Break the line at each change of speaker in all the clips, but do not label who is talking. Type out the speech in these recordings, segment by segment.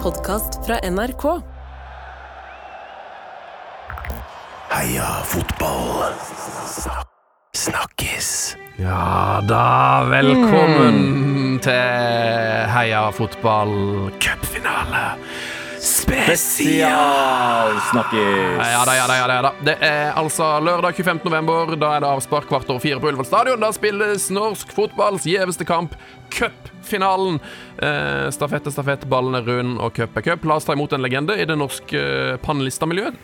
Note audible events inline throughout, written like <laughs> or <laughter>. podkast fra NRK.
Heia fotball. Snakkes.
Ja da, velkommen til Heia fotball cupfinale spesial!
Snakkes.
Ja da, ja da, ja da, ja da. Det er altså lørdag 25. november. Da er det avspark kvart over fire på Ullevål stadion. Da spilles norsk fotballs gjeveste kamp, cupfinalen. Eh, stafett er stafett, ballen er rund, og cup er cup. La oss ta imot en legende i det norske eh, panelistamiljøet.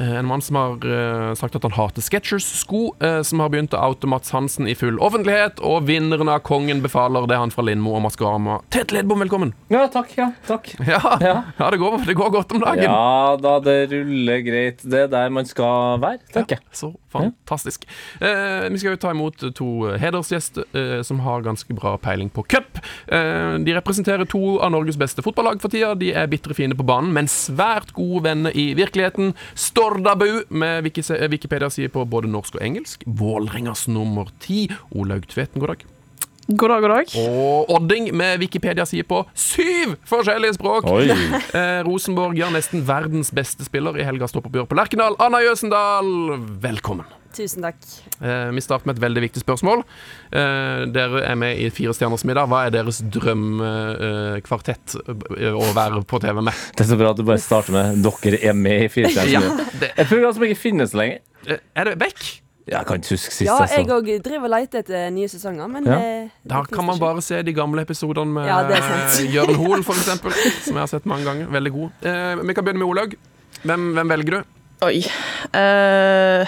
Eh, En mann som har eh, sagt at han hater Sketchers-sko, eh, som har begynt å oute Mats Hansen i full offentlighet, og vinneren av Kongen befaler, det er han fra Lindmo og Maskorama. Tete Ledbom, velkommen!
Ja, takk. Ja, takk.
Ja, ja.
Ja.
det, går, det går godt om dagen.
Ja da, det ruller greit. Det er der man skal være, tenker jeg.
<laughs> Så fantastisk. Eh, vi skal jo ta imot to hedersgjester eh, som har ganske bra peiling på cup. Eh, de representerer to av Norges beste fotballag for tida. De er bitre fiender på banen, men svært gode venner i virkeligheten. Stordabu, med Wiki- eh, Wikipedia sier på både norsk og engelsk. Vålrengas nummer ti, Olaug Tveten, god dag.
God dag, god dag.
Og Odding, med Wikipedia sier på syv forskjellige språk.
Oi.
Eh, Rosenborg gjør nesten verdens beste spiller i helgas toppoppgjør på Lerkendal. Anna Jøsendal, velkommen.
Tusen takk.
Eh, Vi starter med et veldig viktig spørsmål. Eh, Dere er med i Fire stjerners middag. Hva er deres drømkvartett eh, å være på TV med?
<laughs> Det er så bra at du bare starter med 'Dere er med i
Ja,
Firestjernene'.
det,
Et program som ikke finnes lenger.
eh, er det Beck?
Jeg kan ikke huske sist
Ja, jeg
jeg så
òg driver og leter etter nye sesonger, men
Ja.
eh, det
Da
finnes
kan man
ikke.
bare se de gamle episodene med
Ja, det er sant.
eh, <laughs> Jørn Hoel, f.eks., som jeg har sett mange ganger. Veldig god. Eh, Vi kan begynne med Olaug. Hvem, hvem velger du?
Oi. Eh,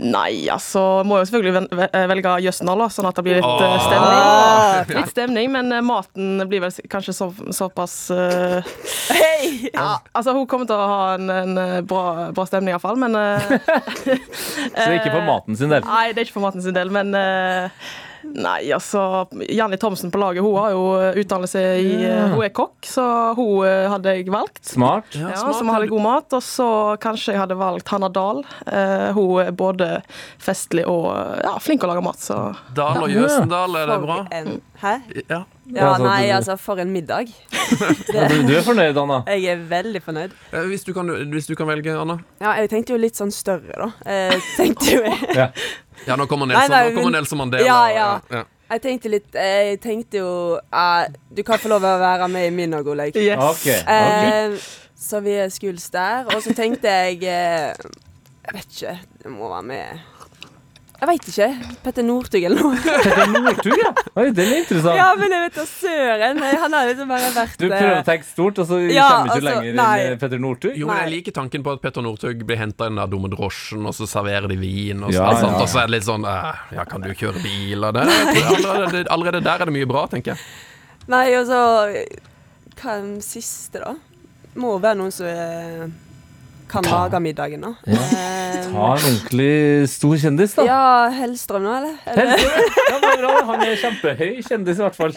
nei, altså Må jo selvfølgelig ven- ve- velge Jøsendal, da, sånn at det blir litt eh,
Ah.
stemning. Litt stemning, men eh, maten blir vel s- kanskje så, såpass eh, ja, Altså, hun kommer til å ha en, en eh, bra, bra stemning, iallfall, men eh,
Så det er ikke på maten sin
Eh,
del.
Nei, det er ikke for maten sin del, men eh, Nei, altså Janni Thomsen på laget, hun har jo eh, utdannelse i eh, Hun er kokk, så hun eh, hadde jeg valgt.
Smart.
Ja,
smart.
Som hadde god mat. Og så kanskje jeg hadde valgt Hanna Dahl. Eh, hun er både festlig og ja, flink å lage mat, så
Dahl og Jøsendal, er det bra?
For en- Hæ?
Ja.
Ja,
altså,
nei,
du-
altså, for en middag.
Ja, Du, du er fornøyd, Anna?
Jeg er veldig fornøyd.
Eh, Hvis du kan, hvis du kan velge, Anna.
Ja, jeg tenkte jo litt sånn større, da. Eh, tenkte jo <laughs> jeg.
Ja, nå kommer
Nei,
Nelson,
nei,
nå
men-
kommer Nelson Mandela.
Ja, ja.
ja.
Jeg tenkte litt Jeg tenkte jo eh, Du kan få lov å være med i min òg, Olaug.
yes.
OK. ok.
Eh, så vi skules der. Og så tenkte jeg eh, Jeg vet ikke. Det må være med Jeg veit ikke. Petter Northug eller noe.
Petter Northug, ja. Oi, den er
Ja,
interessant.
men jeg vet da søren. Han har liksom bare vært
Du
eh,
prøver å tenke stort, og så
Ja,
kommer du ikke
altså,
lenger
nei.
enn eh, Petter Northug?
Jo, men jeg
Nei.
liker tanken på at Petter Northug blir henta i den der dumme drosjen, og så serverer de vin, og, så,
Ja,
altså,
ja, ja.
og så er det litt sånn eh, Ja, kan du kjøre bil? Og det, jeg tror allerede, allerede der er det mye bra, tenker jeg.
Nei, altså Hva er den siste, da? Må være noen som eh, kan lage middagen, da.
Ta
Ja,
en ordentlig stor kjendis, da.
ja Hellstrøm nå, eller? eller?
Helst, ja, men bra. Han er kjempehøy kjendis, i hvert fall.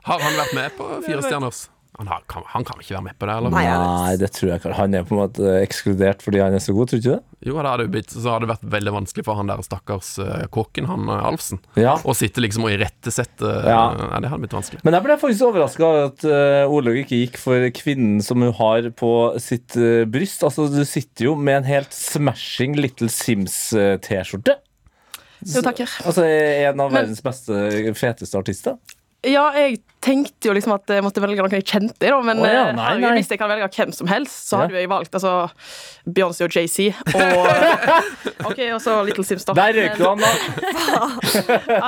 Har han vært med på Fire stjerners? Han, har, kan, han kan ikke være med på det? Eller?
Nei, jeg vet.
Nei, det tror jeg ikke. Han er på en måte ekskludert fordi han er så god, tror du ikke det?
Jo, det hadde jo blitt, så hadde det vært veldig vanskelig for han der stakkars eh, kokken, han eh, Alfsen,
Ja.
å sitte liksom og irettesette eh,
Ja.
Nei, det hadde blitt vanskelig.
Men jeg ble faktisk overraska over at eh, Olaug ikke gikk for kvinnen som hun har på sitt eh, bryst. Altså, du sitter jo med en helt smashing Little Sims-T-skjorte.
Jo, takker.
Altså en av verdens beste, feteste artister.
Ja, jeg tenkte jo liksom at jeg måtte velge noen jeg kjente, da, men
Å ja,
eh,
nei,
herregud,
nei.
hvis jeg kan velge hvem som helst, så
Ja.
hadde jo jeg valgt altså, Beyoncé og JC. Og,
<laughs>
OK, og så Little Sims, da.
Der røyk du,
Men,
Anna!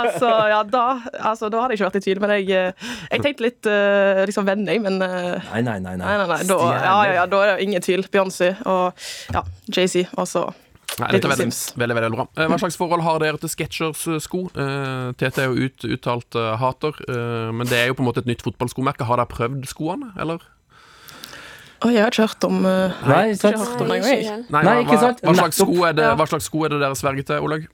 Altså, ja, da, altså, da hadde jeg ikke vært i tvil, men jeg, eh, jeg tenkte litt eh, liksom venner, men eh,
Nei, nei, nei.
Nei, nei, nei. Da, ja, ja, ja, da er det ingen tvil. Beyoncé og ja, Jay-Z. Og så
Nei, dette er
Little
veldig,
Sims.
veldig, veldig bra. Eh, Hva slags forhold har dere til Skechers eh, sko? Eh, Tete er jo ut, uttalt eh, hater, eh, men det er jo på en måte et nytt fotballskomerke. Har dere prøvd skoene, eller?
Oi, jeg har ikke hørt om eh,
Nei, ikke sant?
ikke hørt om
Nei,
meg,
ikke
jeg.
helt.
Nei,
Nei, ikke
hva,
sant?
Hva slags,
Nettopp.
sko er det,
Ja.
hva slags sko er det dere sverger til, Olaug?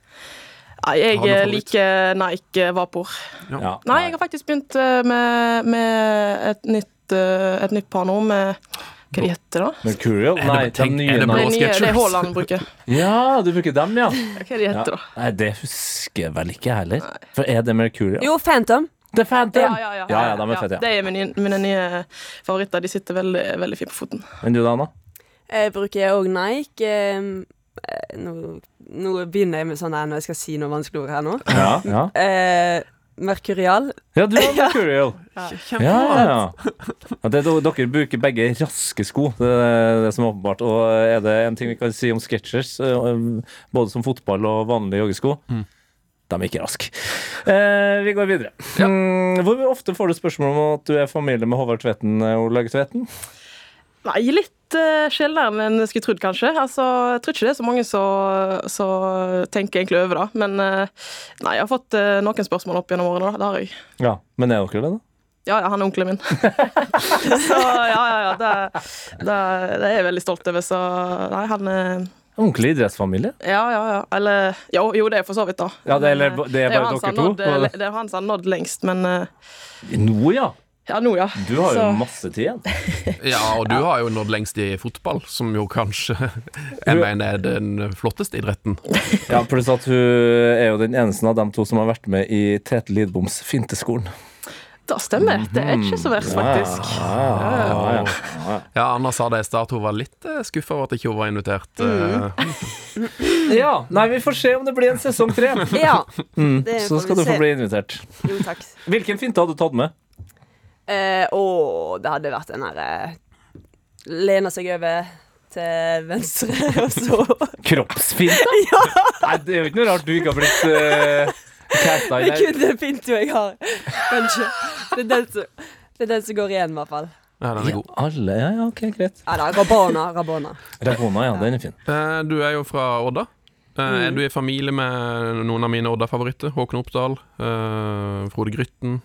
Nei, jeg
Har du noe
eh,
favoritt?
liker Nike Vapor.
Ja,
Nei, jeg har faktisk begynt eh, med, med et, nytt, eh, et nytt par nå med Hva de heter det, da?
Mercurial?
det-
Nei, de
tenk, er
nye
det
Det
blå?
navnene.
nye, det
Skechers.
er Haaland bruker.
Ja, du bruker dem, ja.
Hva de
ja.
heter da?
Nei, det husker jeg vel ikke heller. For er det Mercurial?
Jo, Phantom.
The Phantom!
Ja, ja, ja.
ja, ja, de er fete,
Det er mine, mine nye favoritter. De sitter veldig, veldig fint på foten.
ja. Men du da, Anna?
Jeg bruker òg Nike. ehm, eh, Nå, nå begynner jeg med sånn her når jeg skal si noe vanskelig ord her nå.
Ja, ja.
Eh,
<laughs>
Merkurial.
ja du er Mercurial.
Kjempe-
Ja, ja. ja det, dere bruker begge raske sko, det er det som er åpenbart. Og er det en ting vi kan si om Skechers, eh, både som fotball og vanlige joggesko? De er ikke raske. Eh, vi går videre. Mm, Hvor ofte får du spørsmål om at du er familie med Håvard Tveten? eh, Olaug Tveten?
Nei, litt uh, sjeldnere enn jeg skulle trodd, kanskje. Altså, jeg tror ikke det er så mange som som tenker egentlig over det. Men eh, nei, jeg har fått eh, noen spørsmål opp gjennom årene. da, Det har jeg.
Ja, Men er dere det, da?
Ja, ja, han er onkelen min. <laughs> så ja, ja, ja. Det, det, det er jeg veldig stolt over. Så nei, han eh,
Ordentlig idrettsfamilie?
Ja, ja, ja. Eller jo, jo det er for så vidt, da.
Ja, det- eller
Men, eh,
det er
jo
bare
han som
dere
har
to,
nådd-
eller?
Det er jo han som har nådd lengst, men eh,
Nå, ja!
Ja, nå, ja.
Du har jo
Så-
masse tid igjen.
Ja, og du har jo nådd lengst i fotball, som jo kanskje <laughs> jeg mener er den flotteste idretten.
<laughs> Ja, Pluss at hun er jo den eneste av dem to som har vært med i Tete Lidboms finteskolen.
Det stemmer. Det er ikke så
Mhm.
verst, faktisk.
Ah, Ja, ja, ja.
Ja, Anna sa det i stad, at hun var litt skuffa over at ikke hun var invitert. eh,
Ja, nei, vi får se om det blir en sesong tre.
Ja. det
Mm, <laughs> Så
får
skal
vi
du få
se.
bli invitert.
Jo, takk.
Hvilken finte hadde du tatt med?
Eh, å, det hadde vært den derre Lene seg over til venstre, <laughs> og så
Kroppsfinte?
Ja!
Nei, det er jo ikke noe rart du ikke har blitt uh, casta
<laughs> Det
i der.
kun den pinto jeg har. Kanskje. Det er den som, det er den som går igjen, i hvert fall.
Ja, den er god.
Alle, ja, ja, ok, greit.
Ja da, Rabona. Rabona.
Rabona, ja, den er fin.
Eh, Du er jo fra Odda. Eh, Er du i familie med noen av mine Odda-favoritter? Håkon Oppdal, eh, Frode Grytten.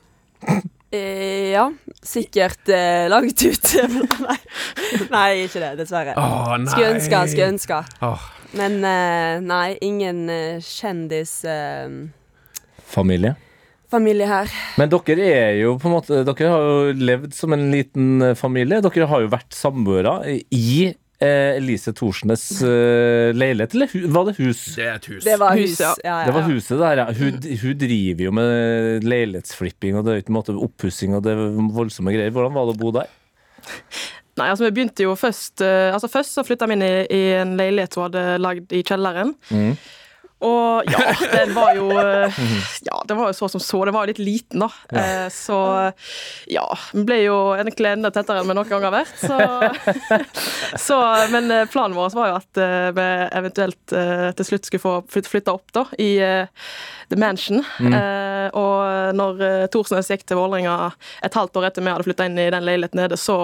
Eh, ja, sikkert eh, langt <laughs> ute. nei. nei, ikke det, dessverre.
Å, nei!
Skulle ønske, skulle ønske.
Åh,
Men eh, nei, ingen eh, kjendis eh,
Familie.
Familie her.
Men dere er jo på en måte Dere har jo levd som en liten eh, familie. Dere har jo vært samboere i eh, Elise Thorsnes eh, leilighet, eller hu- var det hus?
det er et hus.
Det var hus.
Hus, ja.
Ja, ja.
Det var huset der, ja. Hun, hun driver jo med leilighetsflipping og det er jo ikke en måte oppussing og det er voldsomme greier. Hvordan var det å bo der?
Nei, altså vi begynte jo først eh, Altså Først så flytta vi inn i, i en leilighet hun hadde lagd i kjelleren. Og ja, den var jo eh, Ja, den var jo så som så. Den var jo litt liten, da. Eh, Så ja, vi ble jo egentlig enda tettere enn vi noen gang har vært. Så,
<laughs>
så Men eh, planen vår var jo at eh, vi eventuelt eh, til slutt skulle få flytta opp, da, i eh, The Mansion.
Mm.
Eh, og når eh, Thorsnes gikk til Vålerenga et halvt år etter vi hadde flytta inn i den leiligheten nede, så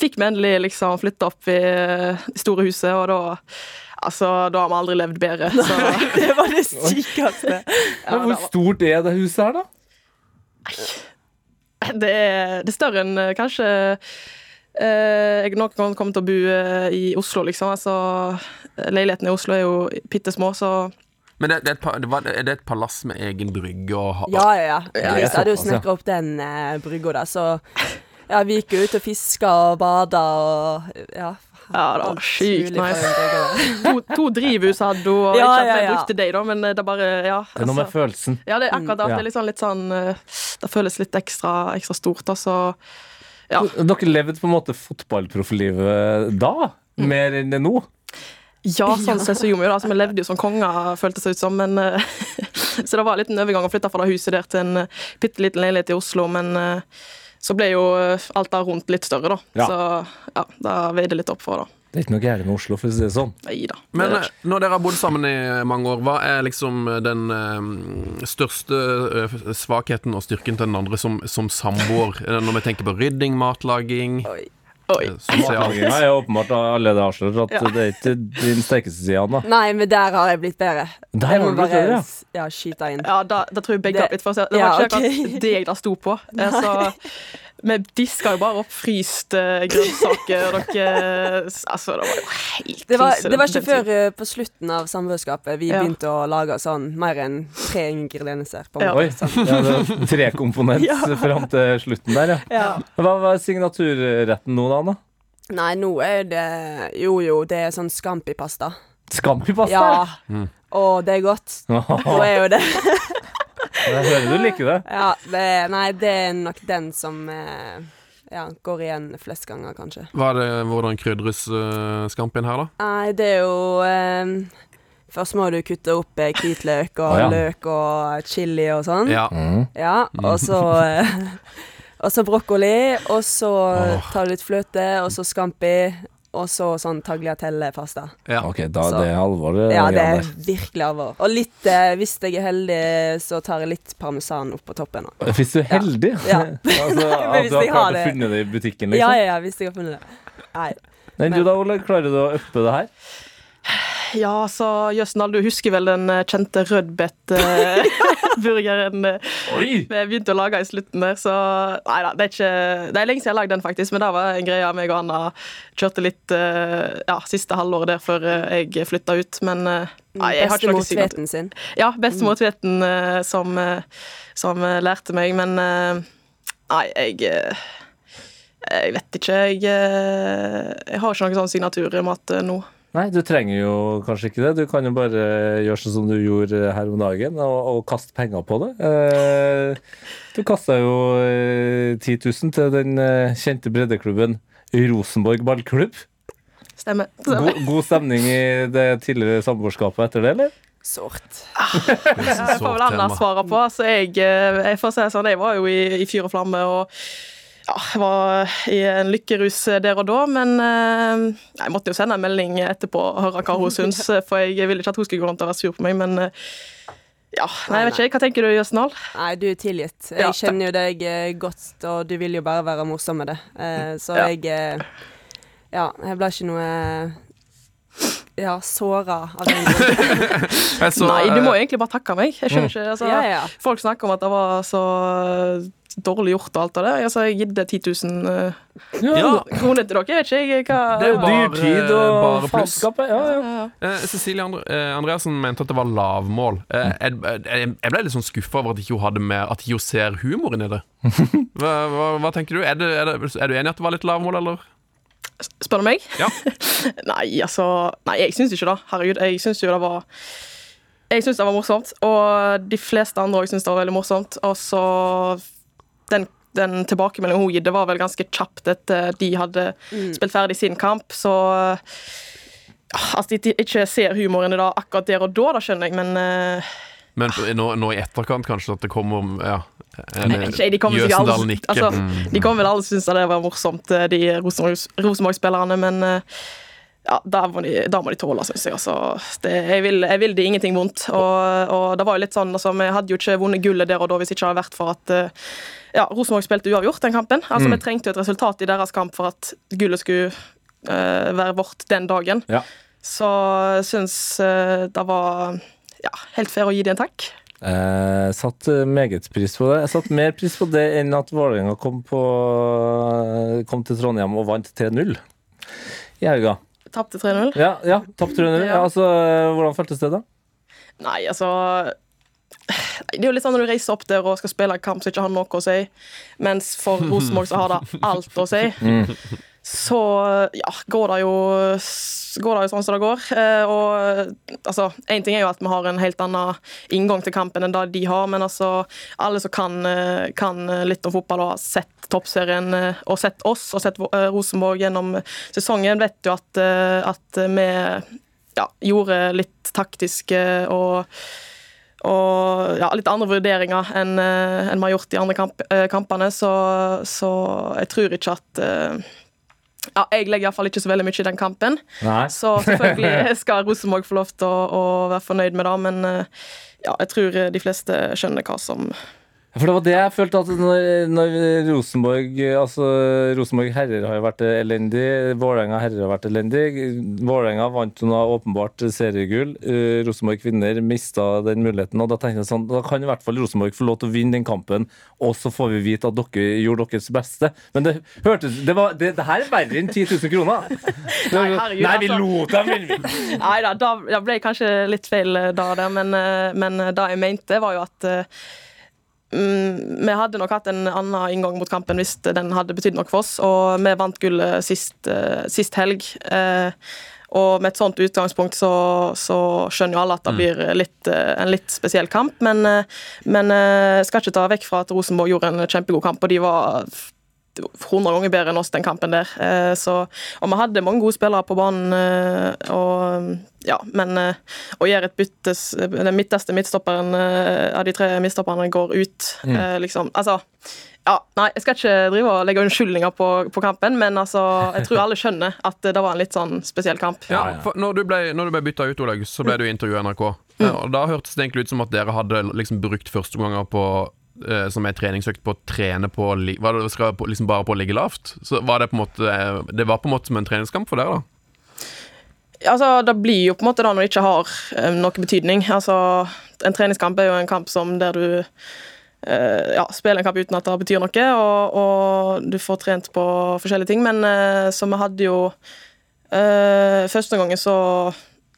fikk vi endelig liksom flytta opp i eh, det store huset, og da Altså, da har vi aldri levd bedre. Så
det var det sykeste.
Men hvor stort er det huset her, da?
<laughs> det er, det er større enn eh, kanskje eh, jeg noen gang kommer til å bo eh, i Oslo, liksom. Altså, leilighetene i Oslo er jo bitte små, så
Men det, det er, et, pa- det var, er det et palass med egen brygge og ha-
Ja, ja, ja.
Ah. Ja,
Hvis jeg hadde jo
såpass, ja.
snekra opp den eh, brygga der, så Ja, vi gikk jo ut og fiska og bada og Ja.
ja,
Ah,
det
alt
var Ah, sjukt
mulig fra
nice.
den brygga der.
To, to drivhus hadde hun,
<laughs>
og
Ja,
ikke at
ja,
vi
ja.
brukte deg, da, men eh, det bare Ja.
Det er noe med
altså.
følelsen.
Ja, det er akkurat det. at
Ja.
Det, er litt sånn, litt sånn, eh, det føles litt ekstra, ekstra stort. altså. da, så- Ja.
Dere levde på en måte fotballprofflivet da, mer enn det nå.
ja, sånn sett så gjorde vi jo det. Altså, vi levde jo som konger, føltes det ut som. Men, eh, <laughs> så det var en liten overgang å flytte fra det huset der til en eh, bitte liten leilighet i Oslo. Men eh, så ble jo eh, alt der rundt litt større, da.
Ja.
Så ja, da veide det litt opp for det.
Det er ikke noe gærent med Oslo, for å si det sånn.
Nei da.
Men
det
eh, når dere har bodd sammen i mange år, hva er liksom den eh, største eh, svakheten og styrken til den andre som, som samboer? Eh, Når vi tenker på rydding, matlaging eh, sosial-
Matlagingen er jo åpenbart allerede avslørt at
Ja.
det er ikke din sterkeste side, Anna.
Nei, men der har jeg blitt bedre.
Der
jeg
har
må
du blitt
bare
bedre, ja.
s- ja, skyte inn.
Ja, da, da tror jeg begge
Det-
opp litt for seg. Det
ja,
var ikke
ok.
akkurat det jeg da sto på.
<laughs>
Eh, Så vi diska jo bare opp fryst eh, grønnsaker og dere Altså, det var jo helt
Det var,
krise
det var ikke
den
før
tiden.
eh, på slutten av samboerskapet vi
Ja.
begynte å lage sånn mer enn tre ingredienser. På sånn. en
Ja.
måte.
Oi. Ja, det er Trekomponent fram til slutten der, <laughs> ja. Hva var signaturretten nå, da, Anna?
Nei, nå er det Jo, jo, det er sånn scampi-pasta.
<laughs> Skampipasta?
Ja. Og det er godt. Nå er jo det
Jeg hører du liker det.
Ja, det, nei, det er nok den som eh, ja, går igjen flest ganger, kanskje.
Hva er det, hvordan krydres eh, skampen her, da?
Nei, det er jo ehm, Først må du kutte opp eh, hvitløk og
Å, ja.
løk og chili og sånn.
Ja.
Mm,
Ja, og så eh, <laughs> Og så brokkoli, og så tar du litt fløte, og så scampi, og så sånn tagliatelle-pasta.
ja.
Ok, da det er alvor. eh, det
Ja, det
greiene
er virkelig alvor. Og litt, eh, hvis jeg er heldig, så tar jeg litt parmesan opp på toppen.
der. Hvis du er heldig.
Ja.
<laughs> altså,
<laughs> Men
at
hvis
du
jeg
har
har
klart å
det-
finne det i
Ja,
butikken, liksom.
ja, ja, hvis jeg har funnet det. Nei.
Nei, du da, Ole, klarer du å uppe det her?
Ja, så Jøsnald, du husker vel den eh, kjente <laughs> rødbet-burgeren
Oi!
eh, vi begynte å lage i slutten der, så Nei da, det er ikke Det er lenge siden jeg har lagd den, faktisk, men det var en greie meg og Anna kjørte litt eh, ja, siste halvåret der før eh, jeg flytta ut, men eh, Nei, jeg har ikke noe
Bestemor
signatur.
Tveten sin.
Ja, bestemor Tveten eh, som, eh, som eh, lærte meg, men eh, Nei, jeg eh, Jeg vet ikke. Jeg, eh, jeg har ikke noen sånn signaturmat eh, nå.
Nei, du trenger jo kanskje ikke det. Du kan jo bare gjøre sånn som du gjorde her om dagen, og, og kaste penger på det. Eh, du kasta jo eh, 10 000 til den eh, kjente breddeklubben Rosenborg ballklubb.
Stemmer.
God, god stemning i det tidligere samboerskapet etter det, eller?
Sort.
Det får vel Anna svare på. Så jeg, eh, jeg får si det sånn, jeg var jo i, i fyr og flamme og ja, jeg var i en lykkerus der og da, men eh, jeg måtte jo sende en melding etterpå og høre hva
<laughs>
hun syns, eh, for jeg ville ikke at hun skulle gå rundt og være sur på meg, men eh, ja, nei, jeg vet ikke. Hva tenker du, Jøsten Dahl?
Nei, du er tilgitt. Jeg
Ja,
kjenner jo deg eh, godt, og du vil jo bare være morsom med det. Eh, så
Ja.
jeg eh, Ja, jeg ble ikke noe eh, Ja, såra av den grunn.
Jeg så,
Nei, du må
eh,
egentlig bare takke meg. Jeg skjønner ikke, altså,
Ja, ja.
Folk snakker om at det var så eh, dårlig gjort og alt av det. Altså, jeg gidde 10 000 eh,
Ja.
kroner til dere. Jeg vet ikke jeg, hva
Det er jo bare-
Dyrtid og
bare pluss.
faenskap, Ja, ja.
eh, Cecilie Andre, eh, Andreassen mente at det var lavmål.
Mm.
Eh, jeg, jeg, jeg ble litt sånn skuffa over at ikke hun hadde mer At ikke hun ser humoren
<laughs>
i det. Hva, hva, hva tenker du? Er, det, er, det, er du enig i at det var litt lavmål, eller?
Spør du meg?
Ja.
Nei, altså Nei, jeg syns ikke det. Herregud, jeg syns jo det var Jeg syns det var morsomt, og de fleste andre òg syns det var veldig morsomt. Og så den, den tilbakemeldingen hun gitte, var vel ganske kjapt etter de hadde spilt ferdig sin kamp, så At de de ikke ser humoren i det akkurat der og da, det skjønner jeg, men eh,
Men på- nå, nå i etterkant kanskje at det kommer ja,
jeg vet ikke, de kommer sikkert
Jøsendal
alle
nikker.
altså,
Mm.
De kommer vel alle synes det var morsomt, eh, de Rosenborgs- Rosenborg-spillerne, men eh, ja, da må de, da må de tåle, syns jeg. Altså. Det, jeg, vil, jeg vil de ingenting vondt. Og, og det var jo litt sånn, altså, Vi hadde jo ikke vunnet gullet der og da hvis ikke det hadde vært for at eh, ja, Rosenborg spilte uavgjort den kampen. Altså,
Mm.
Vi trengte jo et resultat i deres kamp for at gullet skulle eh, være vårt den dagen.
Ja.
Så jeg syns det var ja, helt fair å gi dem en takk.
Jeg satt eh, meget pris på det. Jeg satt mer pris på det enn at Vålerenga kom, på- eh, kom til Trondheim og vant 3-0 i helga.
Tapte 3-0.
Ja, ja tapte 3-0. Ja.
Ja.
Altså, eh, hvordan føltes det, da?
Nei, altså Nei, Det er jo litt sånn når du reiser opp der og skal spille en kamp som ikke har noe å si, mens for Rosenborg så har det alt å si. Så ja, går det jo Går det jo sånn som det går. Eh, og altså, én ting er jo at vi har en helt annen inngang til kampen enn det de har, men altså Alle som kan, eh, kan litt om fotball og har sett Toppserien eh, og sett oss og sett eh, Rosenborg gjennom sesongen, vet jo at, eh, at vi ja, gjorde litt taktiske og, og ja, litt andre vurderinger enn eh, enn vi har gjort i andre kamp, eh, kampene, så, så jeg tror ikke at eh, ja, Jeg legger iallfall ikke så veldig mye i den kampen,
Nei.
så selvfølgelig skal Rosenborg få lov til å, å være fornøyd med det, men eh, ja, jeg tror eh, de fleste skjønner hva som
For det var det jeg følte at når, når Rosenborg eh, Altså, Rosenborg herrer har jo vært elendig. Vålerenga herrer har vært elendig. Vålerenga vant jo nå åpenbart seriegull. Eh, Rosenborg kvinner mista den muligheten. Og da tenkte jeg sånn, da kan i hvert fall Rosenborg få lov til å vinne den kampen, og så får vi vite at dere gjorde deres beste. Men det hørtes Det, var, det, det her er verre enn 10 000 kroner.
<laughs> Nei, herregud,
Nei, vi
altså.
lot dem vinne!
Nei da, da, da ble jeg kanskje litt feil eh, da, der, men, eh, men eh, det jeg mente, var jo at eh, Mm, vi hadde nok hatt en annen inngang mot kampen hvis den hadde betydd noe for oss. Og vi vant gullet sist, eh, sist helg. Eh, og med et sånt utgangspunkt så, så skjønner jo alle at det blir litt, eh, en litt spesiell kamp. Men, eh, men eh, skal ikke ta vekk fra at Rosenborg gjorde en kjempegod kamp, og de var f- 100 ganger bedre enn oss den kampen der. Eh, så, og vi hadde mange gode spillere på banen, eh, og ja, men eh, å gjøre et bytte s- Den midterste midtstopperen eh, av de tre midtstopperne går ut, eh, liksom. Altså ja, nei, jeg skal ikke drive og legge unnskyldninger på, på kampen, men altså, jeg tror alle skjønner at det var en litt sånn spesiell kamp.
Ja, Mm. for når du ble, når du ble bytta ut, Olaug, så ble du intervjua i NRK. Ja, og da hørtes det egentlig ut som at dere hadde liksom brukt førsteomganger på eh, som en treningsøkt på å trene på å li- Var det skal på, liksom bare på å ligge lavt? Så var det på en måte eh, Det var på en måte som en treningskamp for dere, da?
Altså, Det blir jo på en måte da når det ikke har eh, noe betydning. Altså, En treningskamp er jo en kamp som der du eh, ja, spiller en kamp uten at det betyr noe, og, og du får trent på forskjellige ting. Men eh, så vi hadde jo eh, Første gangen så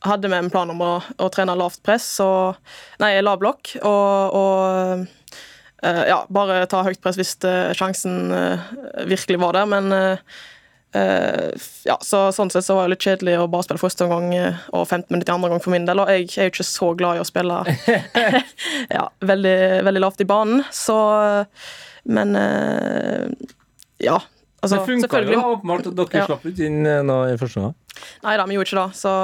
hadde vi en plan om å, å trene lavt press, og, nei, lav blokk, og, og eh, ja, bare ta høyt press hvis eh, sjansen eh, virkelig var der, men eh, Eh, ja, så Sånn sett så var det litt kjedelig å bare spille første omgang eh, og 15 minutter i andre omgang for min del. Og jeg er jo ikke så glad i å
<laughs>
spille ja, veldig, veldig lavt i banen, så Men eh, ja.
Det
Altså,
funka jo
selvfølgelig.
da, åpenbart. at Dere
Ja.
slapp ikke inn eh, noe i første omgang.
Nei da, vi gjorde ikke det. Så,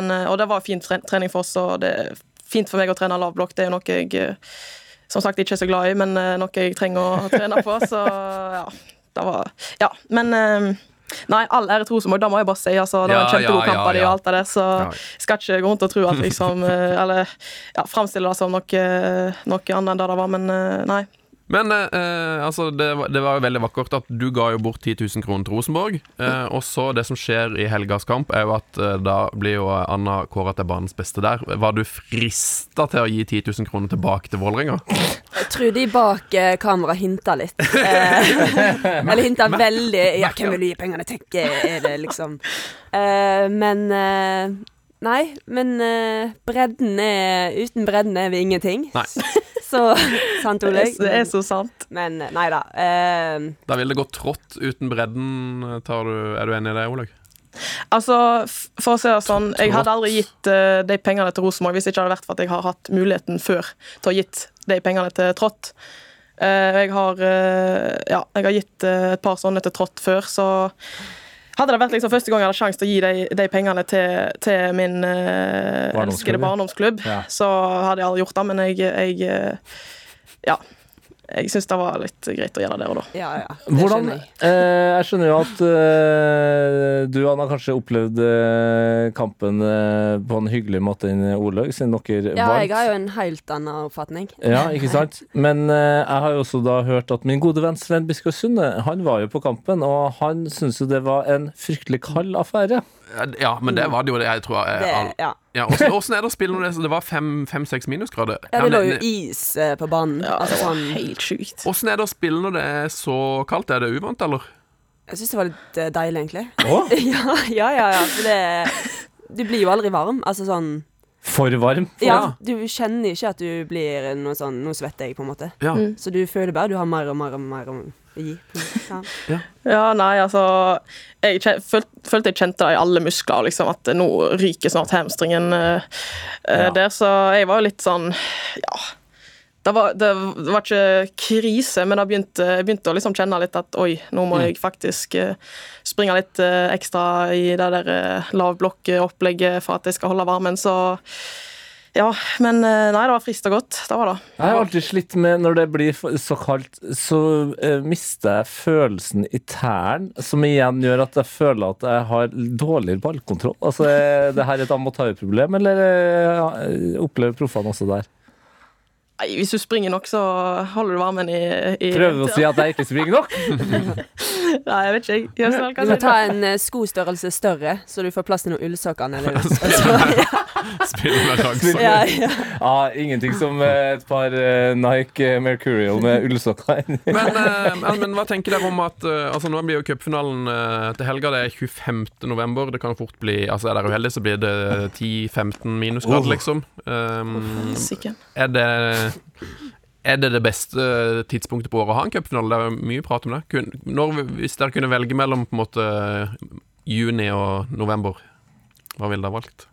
men, eh, og det var fin tre- trening for oss, og det er fint for meg å trene lav blokk. Det er jo noe jeg eh, som sagt ikke er så glad i, men eh, noe jeg trenger å trene på. Så ja. Det var Ja, men eh, Nei, all ære til Rosenborg, det må jeg bare si. Altså, det var
Ja, ja,
en kjempegod kamp av
ja,
de og
ja.
alt det der, så
Ja.
skal ikke gå rundt og tro at liksom eh, Eller ja, framstille det som noe, eh, noe annet enn det det var, men eh, nei.
Men eh, eh, altså, det, var- det var jo veldig vakkert at du ga jo bort 10 000 kroner til Rosenborg. Eh, og så det som skjer i helgas kamp, er jo at eh, da blir jo Anna kåra til banens beste der. Var du frista til å gi 10 000 kroner tilbake til Vålerenga?
Jeg tror de bak eh, kamera hinta litt. Eh, eller hinta veldig. Ja, hvem vil du gi pengene til? Er det liksom eh, Men eh, Nei, men eh, bredden er Uten bredden er vi ingenting.
Nei.
<laughs> Så Sant,
Det
Olaug?
er, det er så sant.
Men eh, nei da. Eh,
Da vil det gå trått uten bredden. Tar du, er du enig i det, Olaug?
Altså, f- for å si det sånn, jeg hadde aldri gitt eh, de pengene til Rosenborg hvis det ikke hadde vært for at jeg har hatt muligheten før til å ha gitt de pengene til Trått. Eh, jeg har eh, ja, jeg har gitt eh, et par sånne til Trått før, så hadde det vært liksom første gang jeg hadde sjanse til å gi de, de pengene til, til min eh,
Barndomsklubb,
elskede
ja.
barndomsklubb,
Ja.
så hadde jeg aldri gjort det, men jeg, jeg eh, ja. Jeg syns det var litt greit å gjøre det der og da.
ja, ja. Det
Hvordan,
skjønner jeg.
eh, jeg skjønner jo at eh, du, Anna, kanskje opplevde eh, kampen eh, på en hyggelig måte enn Olaug, siden dere
Ja,
vant.
jeg har jo en helt annen oppfatning.
Ja, ikke sant? Men eh, jeg har jo også da hørt at min gode venn Sven Biskår Sunde, han var jo på kampen, og han syntes jo det var en fryktelig kald affære.
Ja, men det var det jo. det Jeg tror jeg,
Mm. Det,
all-
ja.
ja, åssen, åssen er det å spille når det, så det var fem-seks minusgrader?
ja, det
Ja,
lå
ne-
jo
ne-
is eh, på banen.
Ja,
altså
det var
sånn
helt sjukt.
Åssen er det å spille når det er så kaldt? Er det uvant, eller?
Jeg syns det var litt eh, deilig, egentlig.
Å?
<laughs> ja, ja, ja, ja. For det Du blir jo aldri varm. Altså sånn
For varm.
Ja, du kjenner ikke at du blir noe sånn Nå svetter jeg, på en måte.
Ja.
Så du føler bare du har mer og mer og mer å gi. på en måte. Ja.
Ja, nei, altså Jeg kjen- føl- følte jeg kjente det i alle muskler, liksom, at nå ryker snart hamstringen eh, eh,
Ja.
der, så jeg var jo litt sånn Ja. Det var, det var ikke krise, men jeg begynte, jeg begynte å liksom kjenne litt at oi, nå
Mm.
må jeg faktisk eh, springe litt eh, ekstra i det der eh, lavblokk-opplegget for at jeg skal holde varmen, så Ja, men eh, nei, det var frist og godt. Det var det.
Jeg har alltid slitt med når det blir for- så kaldt, så eh, mister jeg følelsen i tæren, som igjen gjør at jeg føler at jeg har dårligere ballkontroll. Altså, eh, det her er et amatørproblem, eller eh, opplever proffene også der?
Nei, hvis du springer nok, så holder du varmen i, i
Prøver å si at jeg ikke springer nok?
Nei, jeg
<laughs>
vet ikke. Jeg, jeg,
Du må ta en eh, skostørrelse større, så du får plass til noen ullsokker. <laughs> nedi der.
<laughs>
<laughs>
Spille med sjanser?
Ja, ja.
Ja, ingenting som eh, et par eh, Nike eh, Mercurial med ullsokker inni.
Men, eh, men, men hva tenker dere om at eh, altså, Nå blir jo cupfinalen eh, til helga. Det er 25. november. Det kan jo fort bli Altså Er dere uheldige, så blir det 10-15 minusgrader,
Oh.
liksom. Um,
Sikker.
er det Er det det beste tidspunktet på året å ha en cupfinale? Det er jo mye prat om det. Kun, når, hvis dere kunne velge mellom på en måte juni og november, hva ville dere valgt?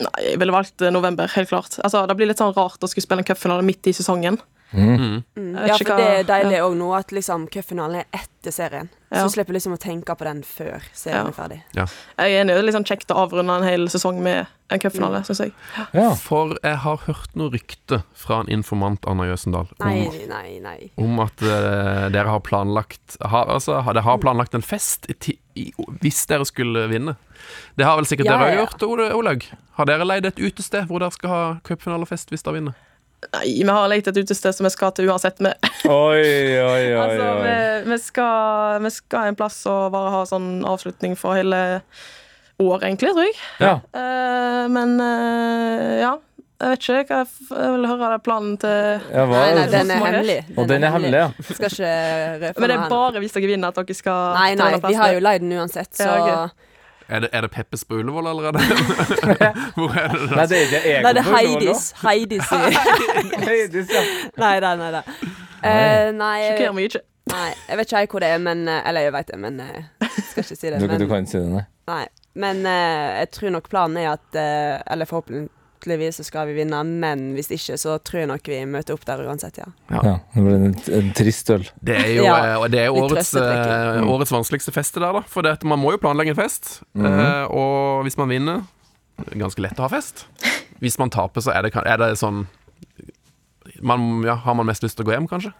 Nei, jeg ville valgt eh, november, helt klart. Altså, det blir litt sånn rart å skulle spille en cupfinale midt i sesongen.
Mm.
Jeg vet
Ja,
ikke
for
hva-
det er deilig òg nå at liksom cupfinalen er etter serien.
Ja.
Så slipper jeg liksom å tenke på den før serien
Ja.
er ferdig.
Jeg er enig, det er litt sånn kjekt å avrunde en hel sesong med en
Mm.
cupfinale, syns jeg.
Ja.
For jeg har hørt noe rykte fra en informant, Anna Jøsendal,
Nei,
om,
nei, nei.
om at eh, dere har planlagt har, Altså, har- dere har planlagt en fest i, ti- i, hvis dere skulle vinne. Det har vel sikkert
Ja,
dere
ja.
òg gjort, Ole- Olaug? Har dere leid et utested hvor dere skal ha cupfinalefest hvis dere vinner?
Nei, vi har lett et utested som vi skal til uansett. Vi,
Oi, oi, oi.
altså, vi,
eh,
oi.
vi, skal, vi skal en plass og bare ha sånn avslutning for hele året, egentlig, tror jeg.
Ja.
Eh, men eh, ja. Jeg vet ikke. Jeg, f- jeg vil høre planen til
ja hva?
Nei, nei, den er
Hvorfor må
hemmelig.
Og den er hemmelig, ja.
Skal ikke røpe
<laughs> Men
noe
det
her
er
nå.
bare hvis dere vinner at dere skal
Nei,
til
nei,
denne
vi har jo
plassen.
leid den uansett, så
Ja,
Er det, er det Peppes på Ullevål allerede? Hvor er det da?
Nei, det er ikke Egon
Nei, det er
på Ullevål
Heidis.
nå.
<laughs>
Heidis i <laughs>
Heidis, ja.
Nei, nei, nei. nei. Eh, nei,
Sjokkerer
jeg,
meg ikke.
nei, jeg vet ikke helt hvor det er, men eh, Eller jeg vet det, men eh, skal ikke si det.
Du,
Men,
du kan ikke si det, nei.
Nei, men eh, jeg tror nok planen er at eh, Eller forhåpentligvis så skal vi vinne, men hvis ikke så tror jeg nok vi møter opp der uansett, ja.
Ja, det ble en, en trist øl.
Det er jo,
Ja,
eh, og det er jo
litt
årets,
trøstetrekking.
eh, årets vanskeligste fest det der, da. For det at man må jo planlegge en fest. eh, og hvis man vinner det er Ganske lett å ha
<laughs>
fest. Hvis man taper, så er det, kan- er det sånn man, ja, Har man mest lyst til å gå hjem, kanskje?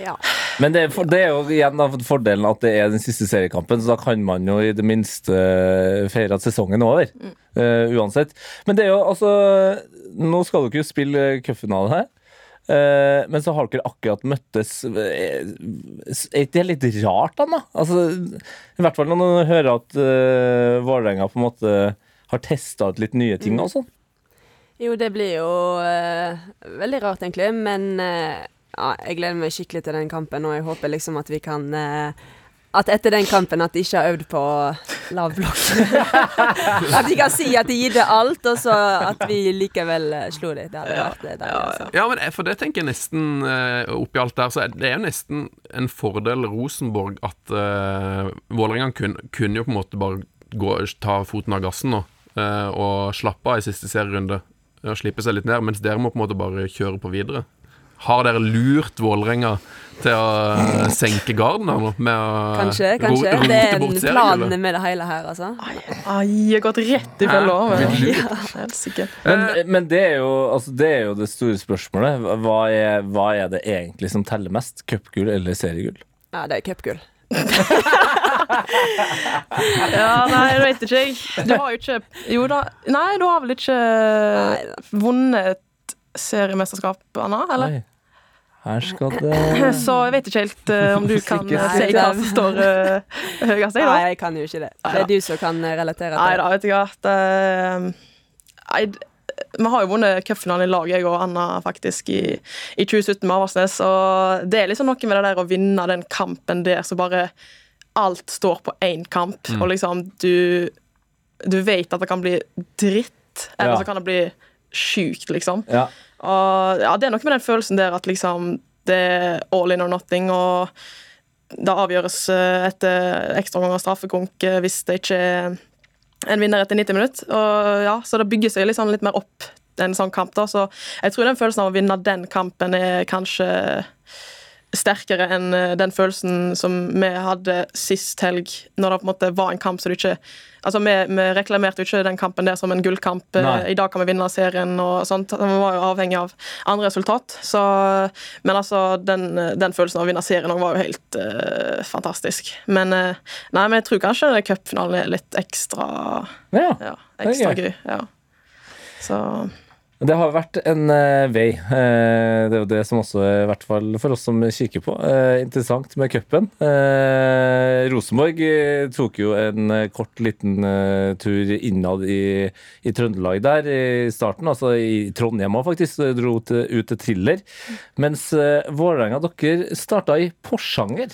ja.
Men det er, for, det er jo igjen da, fordelen at det er den siste seriekampen, så da kan man jo i det minste eh, feire at sesongen er over. eh, uansett. Men det er jo altså Nå skal dere jo spille eh, cupfinale her. eh, men så har dere akkurat møttes Eh, Er ikke det litt rart, da? da? Altså, I hvert fall når man hører at uh, Vålerenga på en måte har testa ut litt nye ting og sånn.
Jo, det blir jo eh, veldig rart, egentlig, men eh, ja, jeg gleder meg skikkelig til den kampen, og jeg håper liksom at vi kan eh, at etter den kampen at de ikke har øvd på lav blokk. at de kan si at de gidde alt, og så at vi likevel eh, slo dem. Det hadde vært det.
ja,
Altså.
Ja, men jeg- for det tenker jeg nesten eh, oppi alt der, så er det er jo nesten en fordel Rosenborg at uh, Vålerenga kun- kunne jo på en måte bare gå, ta foten av gassen nå eh, og slappe av i siste serierunde eh, og slippe seg litt ned, mens dere må på en måte bare kjøre på videre. Har dere lurt Vålerenga til å eh, senke garden her nå? Med å
Kanskje,
ro-
kanskje.
rote
Det er
bort
en
seriegullet?
plan med det hele her, altså.
Ai, jeg har gått rett i fella. men- Ja, helsike.
Men, men det, er jo, altså det er jo det store spørsmålet. Hva er, hva er det egentlig som teller mest? Cupgull eller seriegull?
Ja, det er cupgull.
Ja, nei, det vet ikke jeg. Du har jo ikke Jo da. Nei, du har vel ikke
Nei da.
vunnet seriemesterskap, Anna? Eller?
Oi, her skal det
Så jeg vet ikke helt eh, om du kan
Ikke
eh, si hva som står uh, høyest, jeg, da.
Nei, jeg kan jo ikke det. Det er du som kan eh, relatere
Nei
til det.
da, vet du hva. Det, nei, d- vi har jo vunnet cupfinalen i lag, jeg og Anna, faktisk, i, i 2017 med Avaldsnes. Og det er liksom noe med det der å vinne den kampen der så bare alt står på én kamp. Og liksom, du, du vet at det kan bli dritt, eller
Ja.
så kan det bli sjukt, liksom.
ja.
Og ja, det er noe med den følelsen der at liksom det er all in or nothing, og det avgjøres eh, etter ekstraomganger straffekonk eh, hvis det ikke er en vinner etter 90 minutter. Og ja, så det bygger seg liksom litt mer opp en sånn kamp, da. Så jeg tror den følelsen av å vinne den kampen er kanskje sterkere enn eh, den følelsen som vi hadde sist helg, når det på en måte var en kamp som du ikke Altså, vi, vi reklamerte jo ikke den kampen der som en gullkamp. eh,
Nei.
I dag kan vi vinne serien og sånt. Altså, Vi var jo avhengig av andre resultat. Så, men altså, den, den følelsen av å vinne serien også var jo helt eh, fantastisk. Men eh, nei, men jeg tror kanskje cupfinalen er litt ekstra
ja.
ja, ekstra
Det
gøy. Ja. Så
Det har vært en eh, vei. Eh, det er jo det som også er, i hvert fall for oss som kikker på, eh, interessant med cupen. Eh, Rosenborg eh, tok jo en eh, kort liten eh, tur innad i, i Trøndelag der i starten, altså i Trondheim også faktisk, eh, dro til, ut til Thriller. Mens eh, Vålerenga, dere starta i Porsanger.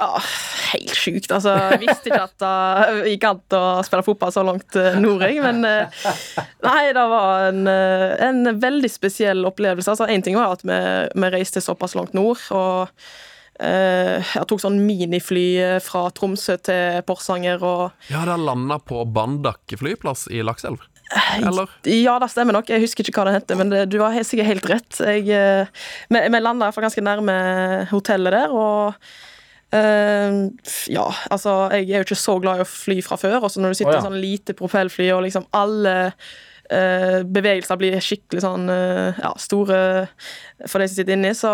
ja, helt sjukt. Altså, jeg visste ikke at det gikk an å spille fotball så langt eh, nord, jeg. Men eh, nei, det var en, eh, en veldig spesiell opplevelse. Altså, en ting var at vi, vi reiste såpass langt nord, og eh, jeg tok sånn minifly eh, fra Tromsø til Porsanger og
Ja, det har landa på Bandak flyplass i Lakselv.
Eh,
Eller?
Ja, det stemmer nok. Jeg husker ikke hva det heter, men det, du har he- sikkert helt rett. Jeg, eh, vi vi landa iallfall ganske nærme hotellet der, og eh, ja, altså, jeg er jo ikke så glad i å fly fra før, og så når du sitter
Å,
i
ja.
sånn lite propellfly, og liksom alle eh, bevegelser blir skikkelig sånn eh, ja, store for de som sitter inni, så,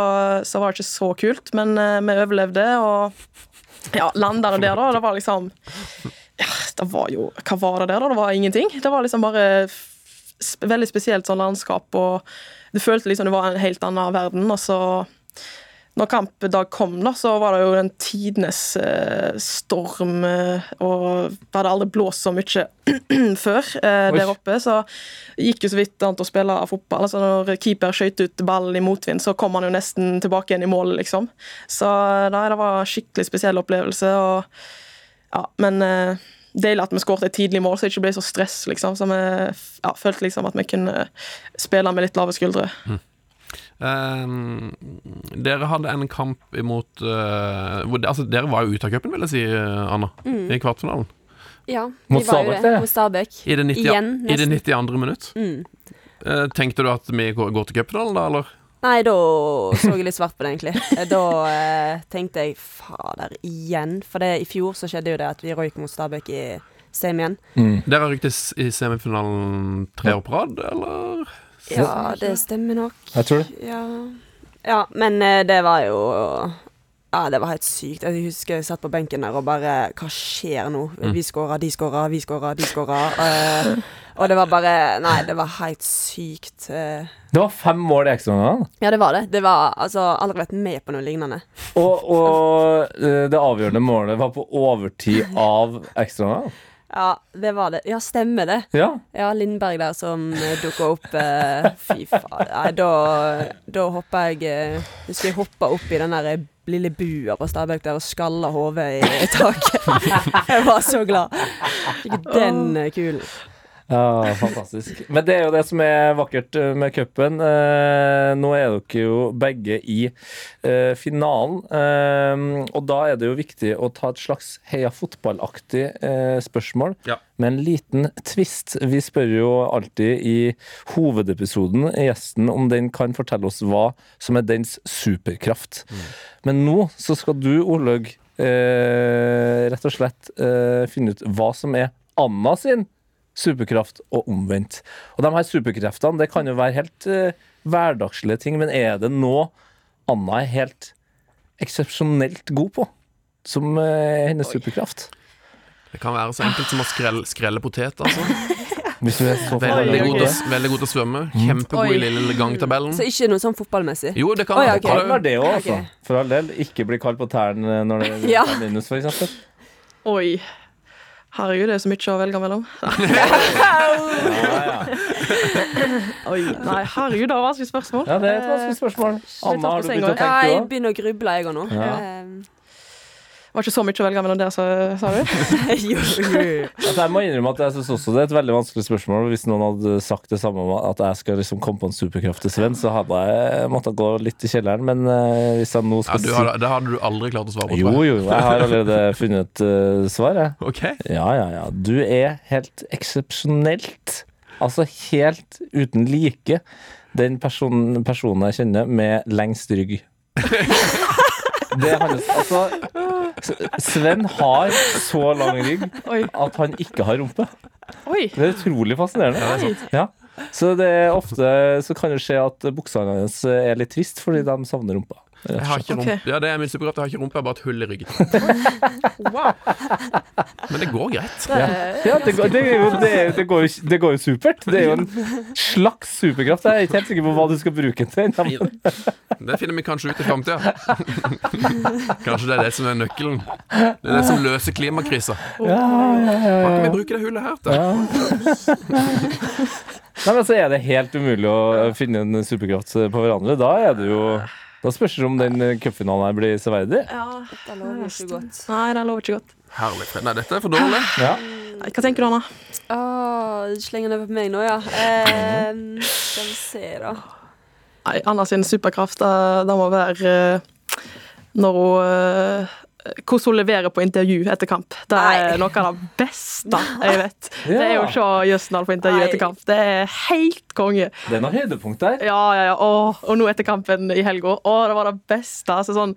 så var det ikke så kult. Men eh, vi overlevde, og ja, landa det der, da. Det var liksom ja, det var jo, Hva var det der, da? Det var ingenting. Det var liksom bare f- sp- veldig spesielt sånn landskap, og du følte liksom du var i en helt annen verden. Og så, når kampdag kom, da, så var det jo den tidenes eh, storm, eh, og det hadde aldri blåst så mye <clears throat> før eh,
Oi.
der oppe. Så gikk jo så vidt an til å spille fotball. Altså, når keeper skøyt ut ballen i motvind, så kom han jo nesten tilbake igjen i mål, liksom. Så nei, det var en skikkelig spesiell opplevelse. og ja, men eh, deilig at vi skåret et tidlig mål, så jeg ikke ble så stress, liksom. Så vi ja, følte liksom at vi kunne spille med litt lave skuldre.
Ehm, dere hadde en kamp imot eh, hvor, Altså, dere var jo ute av cupen, vil jeg si, eh, Anna,
Mm.
i kvartfinalen.
Ja, vi
Mot
var jo
Stabæk,
det.
det.
Mot Stabæk.
I det 90,
Igjen,
i det
nesten. Mm.
92. minutt. Eh, tenkte du at vi går går til cupfinalen, da, eller?
Nei, da så jeg litt svart på det, egentlig. Eh, Da eh, tenkte jeg fader, igjen. For det, i fjor så skjedde jo det at vi røyk mot Stabæk i semien.
Mm,
Dere rykte s- i semifinalen tre år på rad, eller?
Ja, det stemmer nok.
Jeg tror det.
Ja, ja men eh, det var jo Ja, det var helt sykt. Jeg husker jeg satt på benken der og bare Hva skjer nå? Vi skåra, de skåra, vi skåra, de skåra. eh, og det var bare Nei, det var helt sykt. eh.
Det var fem mål i ekstraomgangene.
ja, det var det. Det var altså aldri vært med på noe lignende.
Og, og eh, det avgjørende målet var på overtid av ekstraomgangene.
Ja, det var det. Ja, stemmer det.
Ja.
Ja, Lindberg der som eh, dukka opp. Eh,
<laughs>
fy faen. Nei, da, da hoppa jeg eh, Husker jeg hoppa opp i den der eh, lille bua på Stabæk der og skalla hodet i i
<laughs>
taket. jeg var så glad. Fikk den eh, kulen.
ja, fantastisk. Men det er jo det som er vakkert eh, med cupen. Eh, Nå er dere jo begge i eh, finalen, eh, og da er det jo viktig å ta et slags heia fotballaktig eh, spørsmål.
Ja.
med en liten twist. Vi spør jo alltid i hovedepisoden gjesten om den kan fortelle oss hva som er dens superkraft.
Mm.
Men nå så skal du, Olaug, eh, rett og slett eh, finne ut hva som er Anna sin superkraft, og omvendt. Og de her superkreftene det kan jo være helt eh, hverdagslige ting, men er det noe Anna er helt eksepsjonelt god på? Som eh, er hennes superkraft.
Det kan være så enkelt som å skrelle, skrelle potet,
<laughs>
altså.
Hvis du er så
Veldig
Oi,
god,
ok.
til, å- veldig god til å svømme. Kjempegod i
Oi.
lille gangtabellen.
Så ikke noe sånn fotballmessig.
Jo, det kan
Oi,
være.
ok.
Det kan
Kan
være
være det òg, altså.
Ok.
For all del. Ikke bli kald på tærne når det er
Ja.
minus, for eksempel.
Oi. Herregud, det er så mye å velge mellom.
Ja, ja.
Oi, nei, herregud, det var vanskelig spørsmål.
ja, det er et vanskelig spørsmål.
vi
Anna,
ta
har
på
du begynt å
senga?
Ja,
tenke
jeg
òg?
begynner å gruble, jeg òg nå.
Ja.
Eh, <laughs>
Det var ikke så mye å velge mellom der, sa sa du?
jo, jo, jo.
Altså, jeg må innrømme at jeg synes også det er et veldig vanskelig spørsmål. Hvis noen hadde sagt det samme om at jeg skal liksom komme på en superkraft til Sven, så hadde jeg måttet gå litt i kjelleren. Men eh, hvis jeg nå
Ja,
skal
du, har- det hadde du aldri klart å svare på.
si Jo,
tror jeg.
jo, jeg har allerede funnet et eh, svar, jeg.
Ok.
Ja, ja, ja. Du er helt eksepsjonelt, altså helt uten like, den person, personen jeg kjenner med lengst <laughs> rygg. Det handles, altså, S- Sven har så lang rygg
Oi.
at han ikke har rumpe.
Oi.
Det er utrolig fascinerende.
Oi.
Ja. Så det er ofte så kan det skje at buksene hans er litt trist fordi de savner rumpa. rett og
Jeg har ikke
Ok.
rumpe. Ja, det er min superkraft. Jeg har ikke rumpe, jeg har bare et hull i ryggen.
<laughs> Wow.
Men det går greit.
Det,
Ja, det går, det, er jo, det, er- det, går, jo- det går jo supert. Det er jo en slags superkraft. Jeg er ikke helt sikker på hva du skal bruke den til.
Det finner vi kanskje ut i framtida. <laughs> Kanskje det er det som er nøkkelen. Det er det som løser klimakrisa. Kan vi bruke det hullet her til?
<laughs> Nei, men så er det helt umulig å finne en superkraft på hverandre. Da er det jo Da spørs det om den eh, cupfinalen her blir severdig.
Ja.
Det lover ikke godt.
Nei, det lover ikke godt.
Herlig. fred. Nei, dette er for dårlig.
Ja.
Nei, Hva tenker du, Anna?
Åh, du slenger den over på meg nå, ja. Eh, skal vi se, da.
Nei, Anna sin superkraft det, det må være eh, når hun eh, hvordan hun leverer på intervju etter kamp. Det er
Nei.
noe av det beste
<laughs>
jeg vet.
Ja.
Det er jo å se Jøsendal på intervju
Nei.
etter kamp. Det er helt konge.
Det er noen høydepunkt der.
Ja, ja, ja. Åh, og nå etter kampen i helga. Åh, det var det beste. Altså, sånn,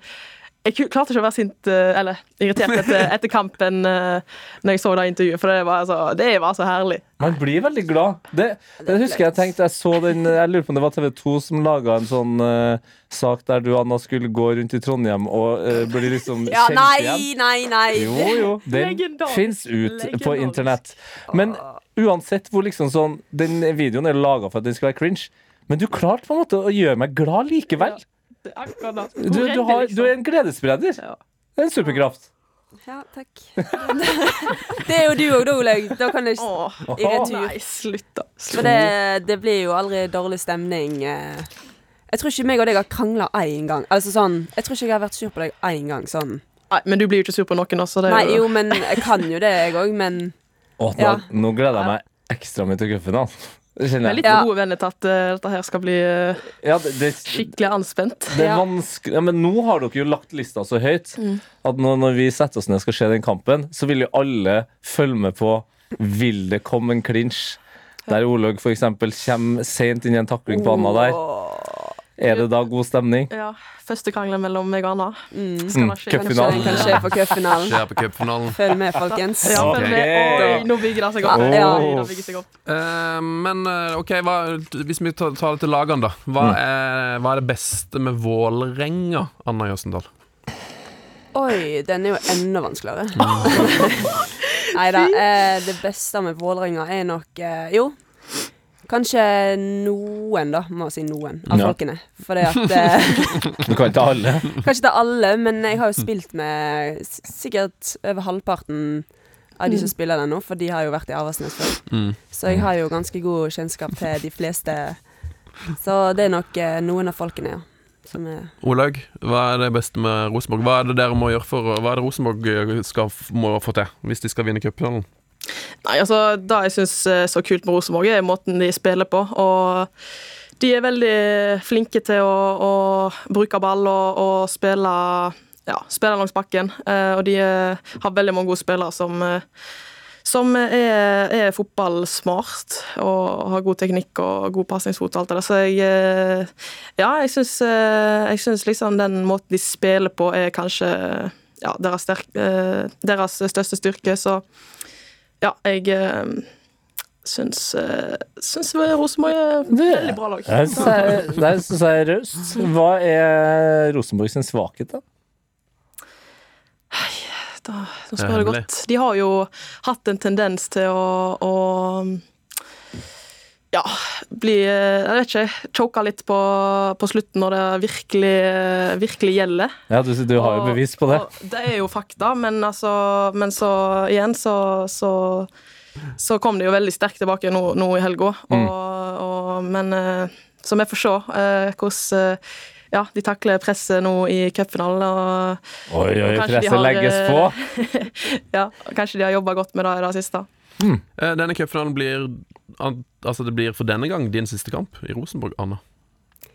jeg ku- klarte ikke å være sint, eh, eller irritert
<laughs>
etter, etter kampen eh, når jeg så det intervjuet, for det var, altså, det var så herlig.
Man blir veldig glad. Det, det husker jeg tenkte Jeg så den Jeg lurer på om det var TV2 som laga en sånn eh, sak der du, Anna, skulle gå rundt i Trondheim og eh, bli liksom
Ja,
kjent igjen.
nei, nei, nei.
Jo, jo. Den
Legendarisk.
fins ut på
Legendarisk.
internett. Men uansett hvor liksom sånn Den videoen er laga for at den skal være cringe. Men du klarte på en måte å gjøre meg glad likevel.
Det er akkurat det.
Du, du, har, du er en gledesspreder.
Ja.
Det er en superkraft.
Ja, takk. <laughs> Det er jo du òg, da, Olaug. Da kan du ikke
Åh,
i retur.
nei, slutt, da. Slutt.
For det, det blir jo aldri dårlig stemning. eh. Jeg tror ikke meg og deg har krangla én gang. Altså sånn, Jeg tror ikke jeg har vært sur på deg én gang. sånn
Nei, men du blir jo ikke sur på noen, altså. Det er
Nei, jo, men jeg kan jo det, jeg òg, men
Å, nå,
Ja.
nå gleder jeg meg ekstra mye til cupen. Altså. Det
Vi er
kjenner
litt
jeg.
Ja.
gode venner til at eh, dette her skal bli eh,
Ja, det, det,
skikkelig anspent.
det
Ja.
er vanskelig ja, Men nå har dere jo lagt lista så høyt
Mm.
at nå, når vi setter oss ned og skal se den kampen, så vil jo alle følge med på Vil det komme en clinch. Der Olaug f.eks. kommer seint inn i en takling på Anna der. Er det da god stemning?
Ja, Første krangelen mellom meg og Anna.
Mm,
være skikkelig.
Den
Cupfinalen.
kan skje
<laughs>
på cupfinalen.
Skjer på cupfinalen.
Følg med, folkens.
Ja,
Ok.
men det, oi, nå bygger det seg opp.
Ja.
Oi, det bygger seg opp.
Eh, men eh, OK, hva, hvis vi tar, tar det til lagene, da. Hva er, hva er det beste med Vålerenga, Anna Jøsendal?
Oi, den er jo enda vanskeligere. <laughs> Nei da. Eh, det beste med Vålerenga er nok eh, Jo, kanskje noen, da. Må si noen av
Ja.
folkene. For det at eh, <laughs>
Du kan ikke
<laughs>
alle.
Kanskje ikke alle, men jeg har jo spilt med s- sikkert over halvparten av de som spiller der nå, for de har jo vært i Avaldsnes før. Så jeg har jo ganske god kjennskap til de fleste. Så det er nok eh, noen av folkene, ja. Som er
Olaug, hva er det beste med Rosenborg? Hva er det dere må gjøre for å- Hva er det Rosenborg eh, skal, f- må få til hvis de skal vinne cupfinalen?
Nei, altså, Det jeg syns er så kult med Rosenborg, er måten de spiller på. Og de er veldig flinke til å, å bruke ball og, og spille, ja, spille langs bakken. Eh, og de eh, har veldig mange gode spillere som, eh, som er, er fotballsmart og har god teknikk og god pasningsfot og alt det der. Så jeg eh, Ja, jeg syns, eh, jeg syns liksom den måten de spiller på, er kanskje ja, deres, sterk, eh, deres største styrke. Så ja, jeg eh, syns, eh, syns Rosenborg er et veldig bra lag.
Der syns jeg er raust. Hva er Rosenborg sin svakhet, da?
Da, nå spør du godt. De har jo hatt en tendens til å, å ja, bli eh, Jeg vet ikke. Choka litt på, på slutten når det virkelig, virkelig gjelder.
Ja, du, du har jo
Og-
bevis på det.
og det er jo fakta, men, altså, men så igjen så, så så kom det jo veldig sterkt tilbake nå, nå i helga.
Mm.
Og, og, men eh, så vi får se eh, hvordan eh, ja, de takler presset nå i cupfinalen. Og,
Oi, oi,
Kanskje de
presset
har,
legges
eh,
på.
ja, kanskje de har jobba godt med det i det siste.
Hmm.
Eh, Denne cupfinalen blir an- Altså, det blir for denne gang din siste kamp i Rosenborg, Anna.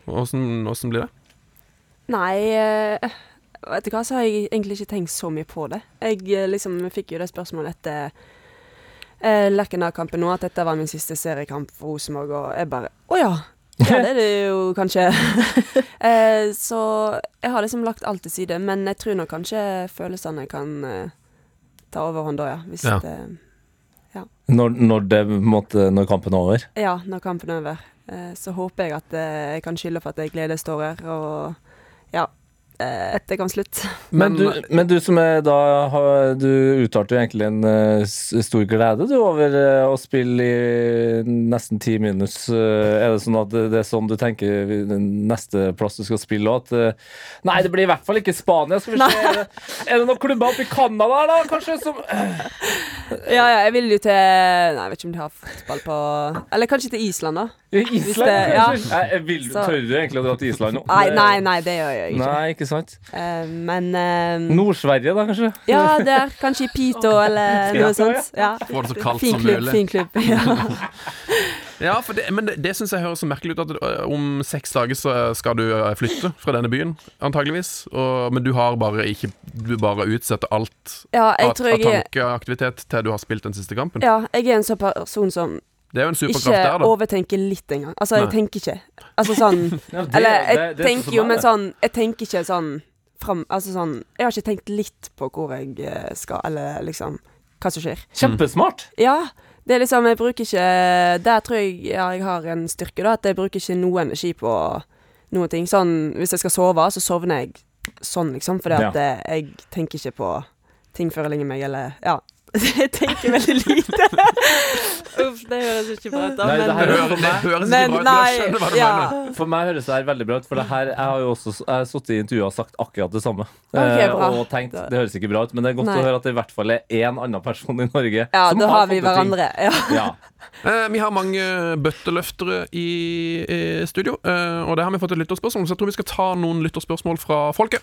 Åssen åssen blir det?
Nei, eh, vet du hva, så har jeg egentlig ikke tenkt så mye på det. Jeg eh, liksom fikk jo det spørsmålet etter eh, Lerkendal-kampen nå, at dette var min siste seriekamp for Rosenborg, og jeg bare Å ja! Ja, det er det jo kanskje. <laughs> eh, så jeg har liksom lagt alt til side, men jeg tror nok kanskje følelsene kan eh, ta overhånd da, ja. Hvis
Ja.
Det,
Når, når, det, på en måte, når kampen er over.
ja, når kampen er over. Eh, så håper jeg at eh, jeg kan skylde for at jeg gledes tårer, og ja. Eh, etter kampslutt.
Men
Men-
du, men du som er da har- Du uttalte jo egentlig en eh, s- stor glede du over eh, å spille i nesten ti minus. Eh, Er det sånn at det, det er sånn du tenker vi- den neste plass du skal spille òg? At eh, Nei, det blir eh, i hvert fall ikke Spania. Skal vi se, er det, er det noen klubber oppe i Canada her, da, kanskje? Som
Ja, ja, jeg vil jo til Nei, jeg vet ikke om de har fotball på Eller kanskje til Island, da. Hvis
Island,
det- ja.
kanskje? Nei, Jeg vil,
Så-
tør du egentlig å dra til Island nå?
Nei, nei, nei, det gjør jeg ikke.
Nei, ikke sant?
Eh, men eh,
Nord-Sverige, da, kanskje?
Ja, der. Kanskje i Pito eller
Ja.
noe sånt. Ja.
Få det så kaldt
Fin
som
klubb,
mulig.
fin klubb. <laughs> Ja.
Ja, for det, men det, det syns jeg høres så merkelig ut. At ø, om seks dager så eh, skal du ø, flytte fra denne byen, antageligvis. Og, men du har bare ikke Du bare utsetter alt
ja, jeg
av
tror
av
jeg er
tankeaktivitet til du har spilt den siste kampen.
ja, jeg er en sånn person som
Det er jo en superkraft
ikke
der, da.
overtenker litt engang. Altså, jeg
Nei.
tenker ikke. Altså sånn
Ja, <laughs> det-
Eller jeg
det- det er sånn som
tenker jo,
er
men
det.
sånn Jeg tenker ikke sånn fram Altså sånn Jeg har ikke tenkt litt på hvor jeg eh, skal, eller liksom Hva som skjer.
Kjempesmart!
Ja. Det er liksom Jeg bruker ikke Der tror jeg ja, jeg har en styrke, da, at jeg bruker ikke noe energi på noen ting. Sånn hvis jeg skal sove, så sovner jeg sånn, liksom, fordi at eh, jeg tenker ikke på ting før jeg legger meg, eller Ja. <laughs> Jeg tenker veldig lite. <laughs> Uff, det høres ikke bra ut,
Nei, det her
Det,
høres
hører, det høres ikke bra ut, men jeg skjønner hva du mener.
For meg høres det her veldig bra ut, for det her, jeg har jo også jeg har sittet i intervjuer og sagt akkurat det samme. Eh,
Ok, bra.
og tenkt det høres ikke bra ut, men det er godt
Nei.
å høre at det i hvert fall er én annen person i Norge
Ja, da har
fått
vi
til ting.
hverandre. Ja.
Ja.
Eh, vi har mange bøtteløftere i, i studio, eh, og det har vi fått et lytterspørsmål, så jeg tror vi skal ta noen lytterspørsmål fra folket.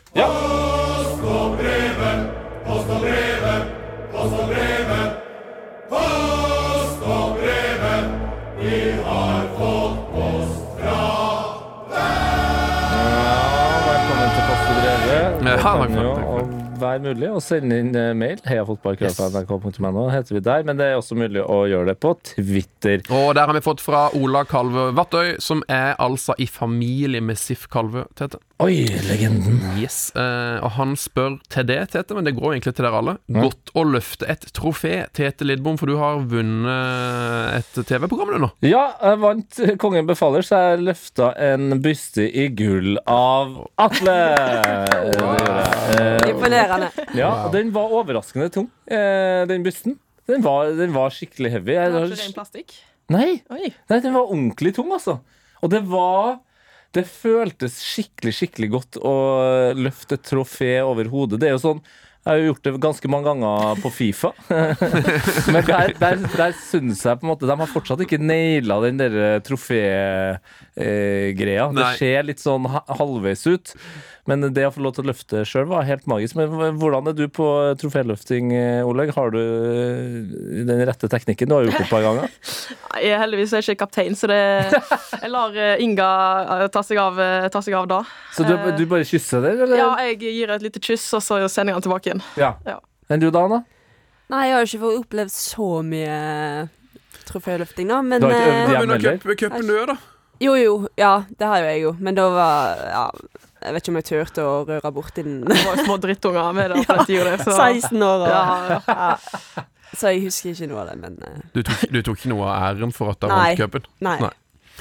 Velkommen til Post og Drevet.
Ja,
Det kan
takk for det,
jo
takk for
være mulig å sende inn eh, mail. Heiafotballkrafta.nrk.no heter vi der, men det er også mulig å gjøre det på Twitter.
Og der har vi fått fra Ola Kalve Vattøy, som er altså i familie med Sif Kalve, Tete.
Oi, legenden.
Yes. Eh, og han spør til det, Tete, men det går egentlig til dere alle. Godt å løfte et trofé, Tete Lidbom, for du har vunnet et TV-program du nå.
Ja, jeg vant Kongen befaler, så jeg løfta en byste i gull av Atle. Det gjorde jeg.
Imponerende.
Eh, Ja, og den var overraskende tung, eh, den bysten. Den var, den var skikkelig heavy. Jeg,
Har ikke ren plastikk?
nei,
Oi.
nei, den var ordentlig tung, altså. Og det var Det føltes skikkelig, skikkelig godt å løfte et trofé over hodet. Det er jo sånn jeg har jo gjort det ganske mange ganger på Fifa. <laughs> Men der, der, der syns jeg på en måte De har fortsatt ikke naila den der trofégreia. Eh, greia. det
Nei.
ser litt sånn ha- halvveis ut. Men det å få lov til å løfte sjøl var helt magisk. Men hv- hvordan er du på troféløfting, eh, Olaug? Har du eh, den rette teknikken? Du har gjort det et par ganger.
Nei, Jeg er heldigvis er jeg ikke kaptein, så det, <laughs> jeg lar eh, Inga eh, ta seg av, eh, ta seg av da.
Så du, du bare kysser den, eller?
Ja, jeg gir et lite kyss, og så sender jeg han tilbake igjen.
Ja.
Ja.
Enn du da, Anna?
Nei, jeg har jo ikke fått opplevd så mye troféløfting, da, men
Du har ikke øvd
eh,
Ja, men
Under
eller?
cup- cupen du er, da.
Jo, jo. Ja, det har jo jeg jo. Men da var Ja, jeg vet ikke om jeg turte å røre borti <laughs> den.
Det var jo små drittunger med <laughs> der på
Ja,
den tida. der, Så,
16 år og ja.
ja, ja.
Så jeg husker ikke noe av det, men eh,
Du tok, du tok ikke noe av æren for at du
Nei.
vant cupen?
nei.
Nei.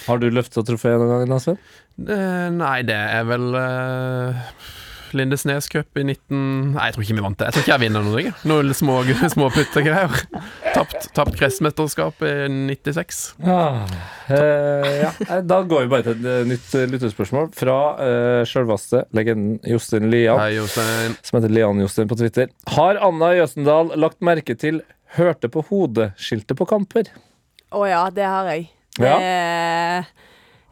Har du løfta trofé noen gang, Asven?
Eh, nei, det er vel eh, Lindesnes Cup i 19... Nei, jeg tror ikke vi vant det. Jeg tror ikke jeg vinner noe. jeg. Noen små, <laughs> små puttegreier. Tapt, tapt kretsmesterskap i 96.
Ja. Eh, ja. Eh, Da går vi bare til et eh, nytt eh, lyttespørsmål fra uh, sjølvaste legenden Jostein Lian,
Hei, Jostein.
som heter Lian-Jostein på Twitter. Har Anna Jøsendal lagt merke til 'hørte på hodet'-skiltet på kamper?
Å ja, det har jeg. Det,
Ja.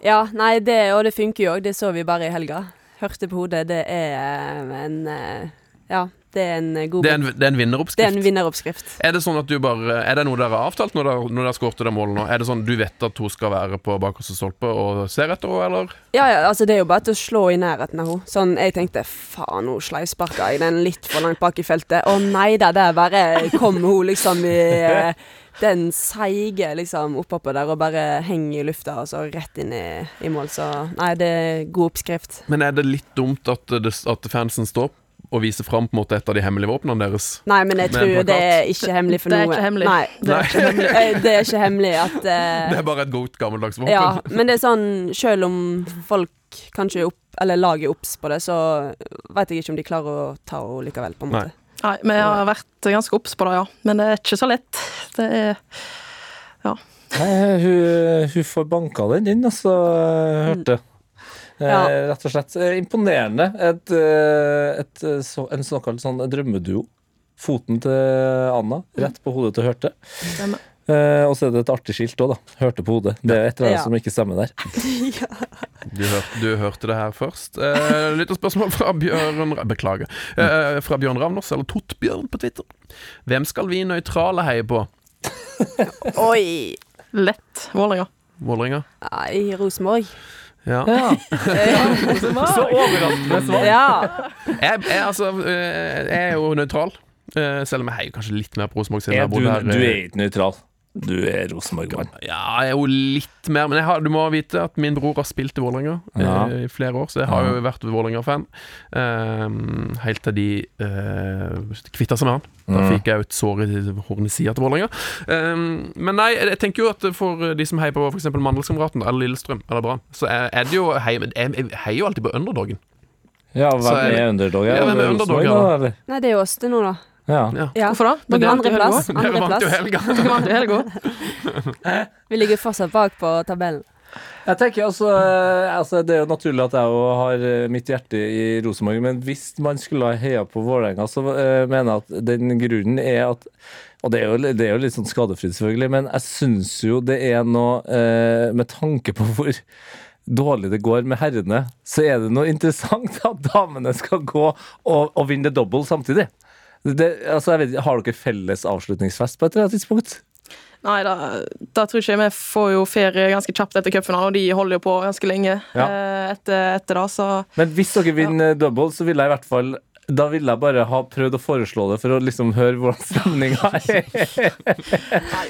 ja. nei, det Og det funker jo òg. Det så vi bare i helga. Hørte på hodet. Det er eh, en eh, Ja, det er en eh, god
Det er en, det er en
det er en
vinneroppskrift.
vinneroppskrift.
Er det sånn at du bare Er det noe dere har avtalt når dere, når dere skårte det målet nå? Er det sånn du vet at hun skal være på bakerste stolpe og ser etter henne, eller?
Ja, ja, altså det er jo bare til å slå i nærheten av henne. Sånn, jeg tenkte faen, nå sleivsparka jeg den litt for langt bak i feltet. Å nei da, der bare kom hun liksom i eh, den seige liksom oppå der og bare henger i lufta og så rett inn i, i mål. Så nei, det er god oppskrift.
Men er det litt dumt at, det, at fansen står og viser fram på en måte et av de hemmelige våpnene deres?
Nei, men jeg
Men
tror
plakat?
det er ikke hemmelig for
Det er
noe.
ikke hemmelig.
Nei,
Det er ikke hemmelig.
Eh, det er ikke hemmelig at eh,
<laughs> Det er bare et godt, gammeldags våpen. <laughs>
Ja, men det er sånn Selv om folk kanskje er opp, eller laget er obs på det, så vet jeg ikke om de klarer å ta henne likevel, på en måte.
Nei.
Nei, men jeg har vært ganske obs på det, ja. Men det er ikke så lett. Det er
Nei, hun, hun får banka den inn, altså, hørte. Eh,
Mm. Ja.
Rett og slett eh, imponerende. Et, eh, et, eh, så, en såkalt sånn drømmeduo. foten til Anna rett på hodet til Hørte.
Stemmer.
Eh, og så er det et artig skilt òg, da. Hørte på hodet. Det er et eller annet
Ja.
som ikke stemmer der.
<laughs>
Du, hørte- du hørte det her først. Eh, Lytterspørsmål fra Bjørn Ra- Beklager. Eh, fra Bjørn Ravnås, eller Tottbjørn på Twitter. Hvem skal vi nøytrale heie på?
Oi!
Lett Vålerenga.
Vålerenga?
Nei, Rosenborg.
Ja.
<laughs>
Ja. Så overraskende svar.
Ja.
Jeg, jeg, altså, eh, jeg er jo nøytral. Eh, Selv om jeg heier kanskje litt mer på Rosenborg. siden jeg har
Er du,
bodd her, eh,
du er ikke nøytral. Du er Rosenborg-mann.
Ja, jeg er jo litt mer Men jeg har, du må vite at min bror har spilt i Vålerenga
Ja.
eh, i flere år, så jeg har jo vært Vålerenga-fan. Eh, helt til de eh, kvitta seg med han. Da
Mm.
fikk jeg jo et sår i hornesida til Vålerenga. Eh, men nei, jeg tenker jo at for eh, de som heier på f.eks. Mandelskameraten eller Lillestrøm eller Brann, så er, er det jo hei, men jeg, jeg heier jo alltid på underdogen.
Ja,
Så er
hvem
det-
er underdog?
Ja, hvem er underdog,
Rosenborg,
ja, da?
da, eller?
Nei, det er jo oss det nå, da.
Ja.
Ja.
Ja.
Hvorfor da?
Men
Dere-
andreplass.
dere
Dere vant jo
Andreplass.
helga.
helga. Dere vant jo helga. <laughs>
Vi ligger fortsatt bak på tabellen.
Jeg tenker altså, eh, altså Det er jo naturlig at jeg jo har eh, mitt hjerte i Rosenborg, men hvis man skulle ha heia på Vålerenga, så eh, mener jeg at den grunnen er at Og det er jo, det er jo litt sånn skadefritt, selvfølgelig, men jeg syns jo det er noe eh, Med tanke på hvor dårlig det går med herrene, så er det noe interessant at damene skal gå og, og vinne double samtidig. Det, altså, jeg vet, ikke, har dere felles avslutningsfest på et eller annet tidspunkt?
Nei, da, da tror ikke jeg vi får jo ferie ganske kjapt etter cupfinalen, og de holder jo på ganske lenge
Ja.
eh, etter, etter da, så
Men hvis dere vinner double, så ville jeg i hvert fall da ville jeg bare ha prøvd å foreslå det for å liksom høre hvordan stemninga er.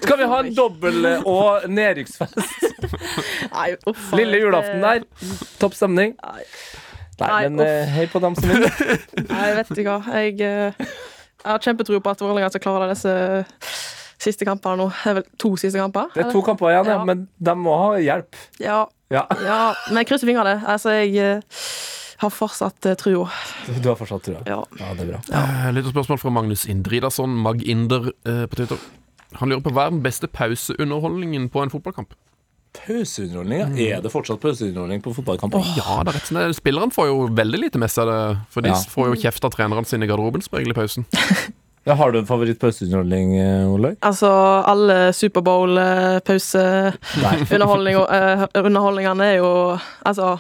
Skal vi ha en dobbel- og nedrykksfest
Nei, uff,
lille julaften der? Topp stemning.
Nei.
Nei,
Nei,
men eh, hei på dem som vinner.
Nei, vet du hva. Jeg, eh, jeg har kjempetro på at Vålerenga skal klare disse siste kampene nå. Det er vel to siste kamper?
Det er to kamper igjen, ja,
Ja.
men de må ha hjelp.
eller? Ja,
Ja,
ja. Men jeg krysser fingrene. Altså, jeg eh, har fortsatt eh, trua.
Du har fortsatt trua.
Ja.
Ja, det er bra.
Eh, Litt spørsmål fra Magnus Indridason, Mag-Inder eh, på Twitter. Han lurer på hva er den beste pauseunderholdningen på en fotballkamp?
Pauseunderholdning, ja. Er det fortsatt pauseunderholdning på fotballkamper?
Ja, det er rett og slett. Spilleren får jo veldig lite med seg det, for de
Ja.
får jo kjeft av trenerne sine i garderoben som regel i pausen.
Ja, har du en favoritt pauseunderholdning, eh, Olaug?
Altså, alle eh, Superbowl-pause-underholdningene
Nei.
eh, er jo Altså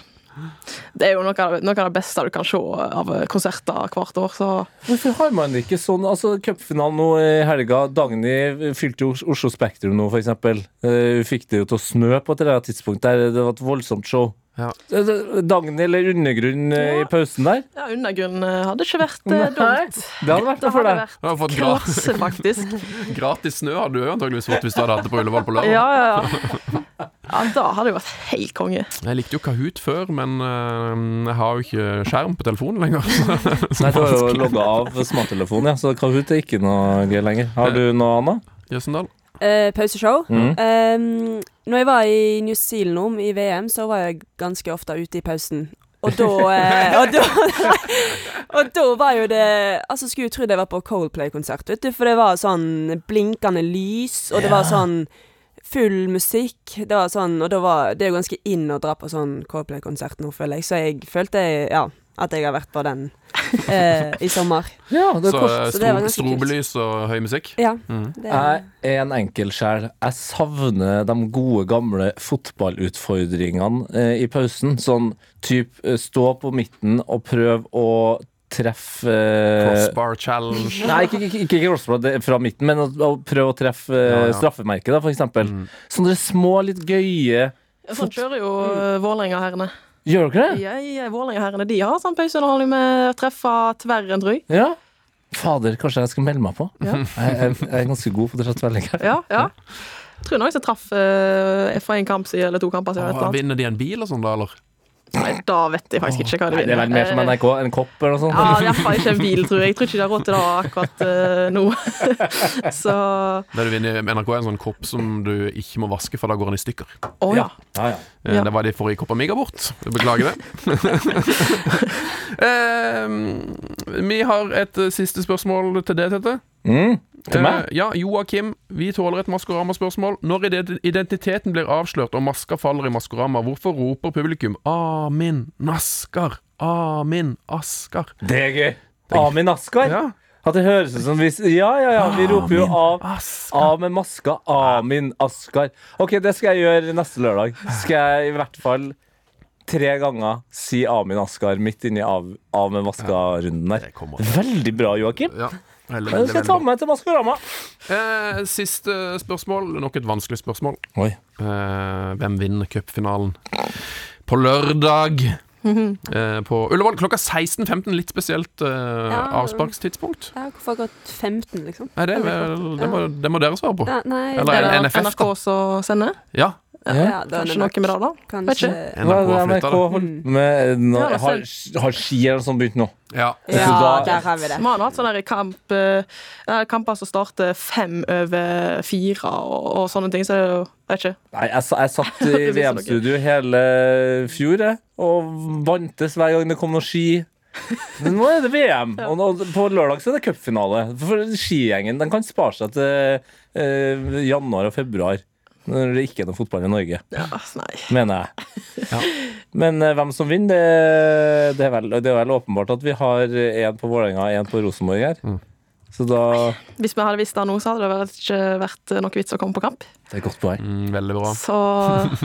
det er jo noe av, det- noe av det beste du kan se av konserter hvert år, så
Hvorfor har man det ikke sånn? Altså, Cupfinalen nå i helga. Dagny fylte jo Os- Oslo Spektrum nå, f.eks. Hun fikk det jo til å snø på et eller annet tidspunkt. der Det var et voldsomt show.
Ja.
Eh, det- Dagny eller Undergrunn eh, i pausen der?
ja, undergrunn eh, hadde ikke vært eh,
Nei,
dumt.
Det hadde vært
Det
det for
hadde
deg.
vært
Du har fått gra
klasse, faktisk.
gratis snø, hadde du antakeligvis fått hvis du hadde hatt det på Ullevål på
Ja,
lørdag.
ja, ja.
<laughs>
ja da hadde det vært helt konge.
Jeg likte jo Kahoot før, men eh, jeg har jo ikke skjerm på telefonen lenger. <laughs>
Nei, Du har jo logga av smarttelefonen, ja, så Kahoot er ikke noe gøy lenger. Har du noe, Anna?
Jøssendal.
Eh, pauseshow.
Mm.
Mhm.
Um, når jeg var i New Zealand om i VM, så var jeg ganske ofte ute i pausen. Og da, eh, og da <laughs> Og da var jo det Altså Skulle jo trodd jeg var på Coldplay-konsert, vet du. For det var sånn blinkende lys, og det var sånn full musikk. Det var sånn Og da var det er jo ganske in å dra på sånn Coldplay-konsert nå, føler jeg. Så jeg følte jeg, ja, at jeg har vært på den eh, i sommer.
Ja, det
Så
er kort.
eh,
så det var
stro-
ganske kult.
strobelys og høy musikk.
Ja.
Mhm.
Mm.
Det,
Jeg er en enkel sjel. Jeg savner de gode, gamle fotballutfordringene eh, i pausen. Sånn type stå på midten og prøv å treffe eh,
Crossbar
<laughs>
challenge.
Nei, ikke, ikke, ikke crossbar det er fra midten, men å, å prøve å treffe eh,
Ja, ja.
straffemerket, da, for eksempel. Sånne små, litt gøye
Sånn kjører jo eh, Vålerenga-herrene.
Gjør dere det?
Jeg, eh, Vålerenga-herrene de har sånn pauseunderholdning med å treffe tverr en drøy.
Ja? Fader, kanskje jeg skal melde meg på?
Ja.
Jeg, jeg, jeg er ganske god på det. slett veldig.
Ja, ja. Jeg tror noen som traff eh, fra en kamp siden, eller to kamper siden.
Åh,
Ah,
et eller annet.
vinner de en bil og sånn, da, eller?
Nei, da vet jeg faktisk ikke hva de
Nei, det er vel mer som
Eh,
NRK, en kopp eller noe sånt.
Ja, det er iallfall ikke en bil, tror jeg. Jeg tror ikke de har råd til det akkurat eh, nå. <laughs> så
Der du vinner NRK er en sånn kopp som du ikke må vaske, for da går den i stykker.
Å ja.
Ja, ja.
Eh,
Ja.
Det var de forrige Copa Miga bort. Jeg Beklager det. <laughs> eh, vi har et eh, siste spørsmål til det, Tete.
Mm. Til meg?
Eh, ja, Joakim. Vi tåler et Maskorama-spørsmål. Når ide- identiteten blir avslørt og maska faller i Maskorama, hvorfor roper publikum 'Amin Naskar'? Amin Askar.
Det er gøy. Amin Askar.
Ja. Ah,
At det høres ut som vi Ja, ja, ja. Vi roper jo av,
Ask.
av med maska. Amin Askar. OK, det skal jeg gjøre neste lørdag. Skal jeg i hvert fall tre ganger si Amin Askar midt inni av, av med maska-runden der.
Det kommer.
Veldig bra, Joakim.
Ja. Veldig,
Det
veldig,
skal
veldig
jeg ta
bra.
med meg til Maskorama.
Eh, siste spørsmål. Nok et vanskelig spørsmål.
Oi.
Eh, hvem vinner cupfinalen på lørdag?
<laughs>
Eh, på Ullevål klokka 16.15. Litt spesielt eh,
Ja.
avsparkstidspunkt.
Ja, hvorfor akkurat 15, liksom?
Nei, det, er vel- det, må, det må dere svare på.
Ja, nei,
Eller
Er det
NFF, da.
NRK som sender?
Ja.
ja, da er det
Kanskje noe med det, da?
Kanskje.
Hva
NRK
er det NRK
flytta det.
holdt med nå?
Ja,
Har, har Ski eller noe sånt begynt nå?
Ja.
Ja,
Så da-
der har vi det.
Man har hatt sånne der kamp, eh, kamper som starter fem over fire og, og sånne ting, så er det jo Vet ikke.
Nei, jeg, sa- jeg satt
<laughs>
i
sånn,
Det blir så noe.
VM-studio hele fjor jeg, og vantes hver gang det kom noe ski. Men nå er det VM, og nå, på lørdag så er det cupfinale. For skigjengen den kan spare seg til eh, januar og februar, når det ikke er noe fotball i Norge,
Ja, altså, nei.
mener jeg. Men eh, hvem som vinner, det, det, er vel, det er vel åpenbart at vi har én på Vålerenga og én på Rosenborg her. Så da
Hvis vi hadde visst det nå, så hadde det vel ikke vært eh, noe vits å komme på kamp.
Det er et godt poeng.
Mm, veldig bra.
Så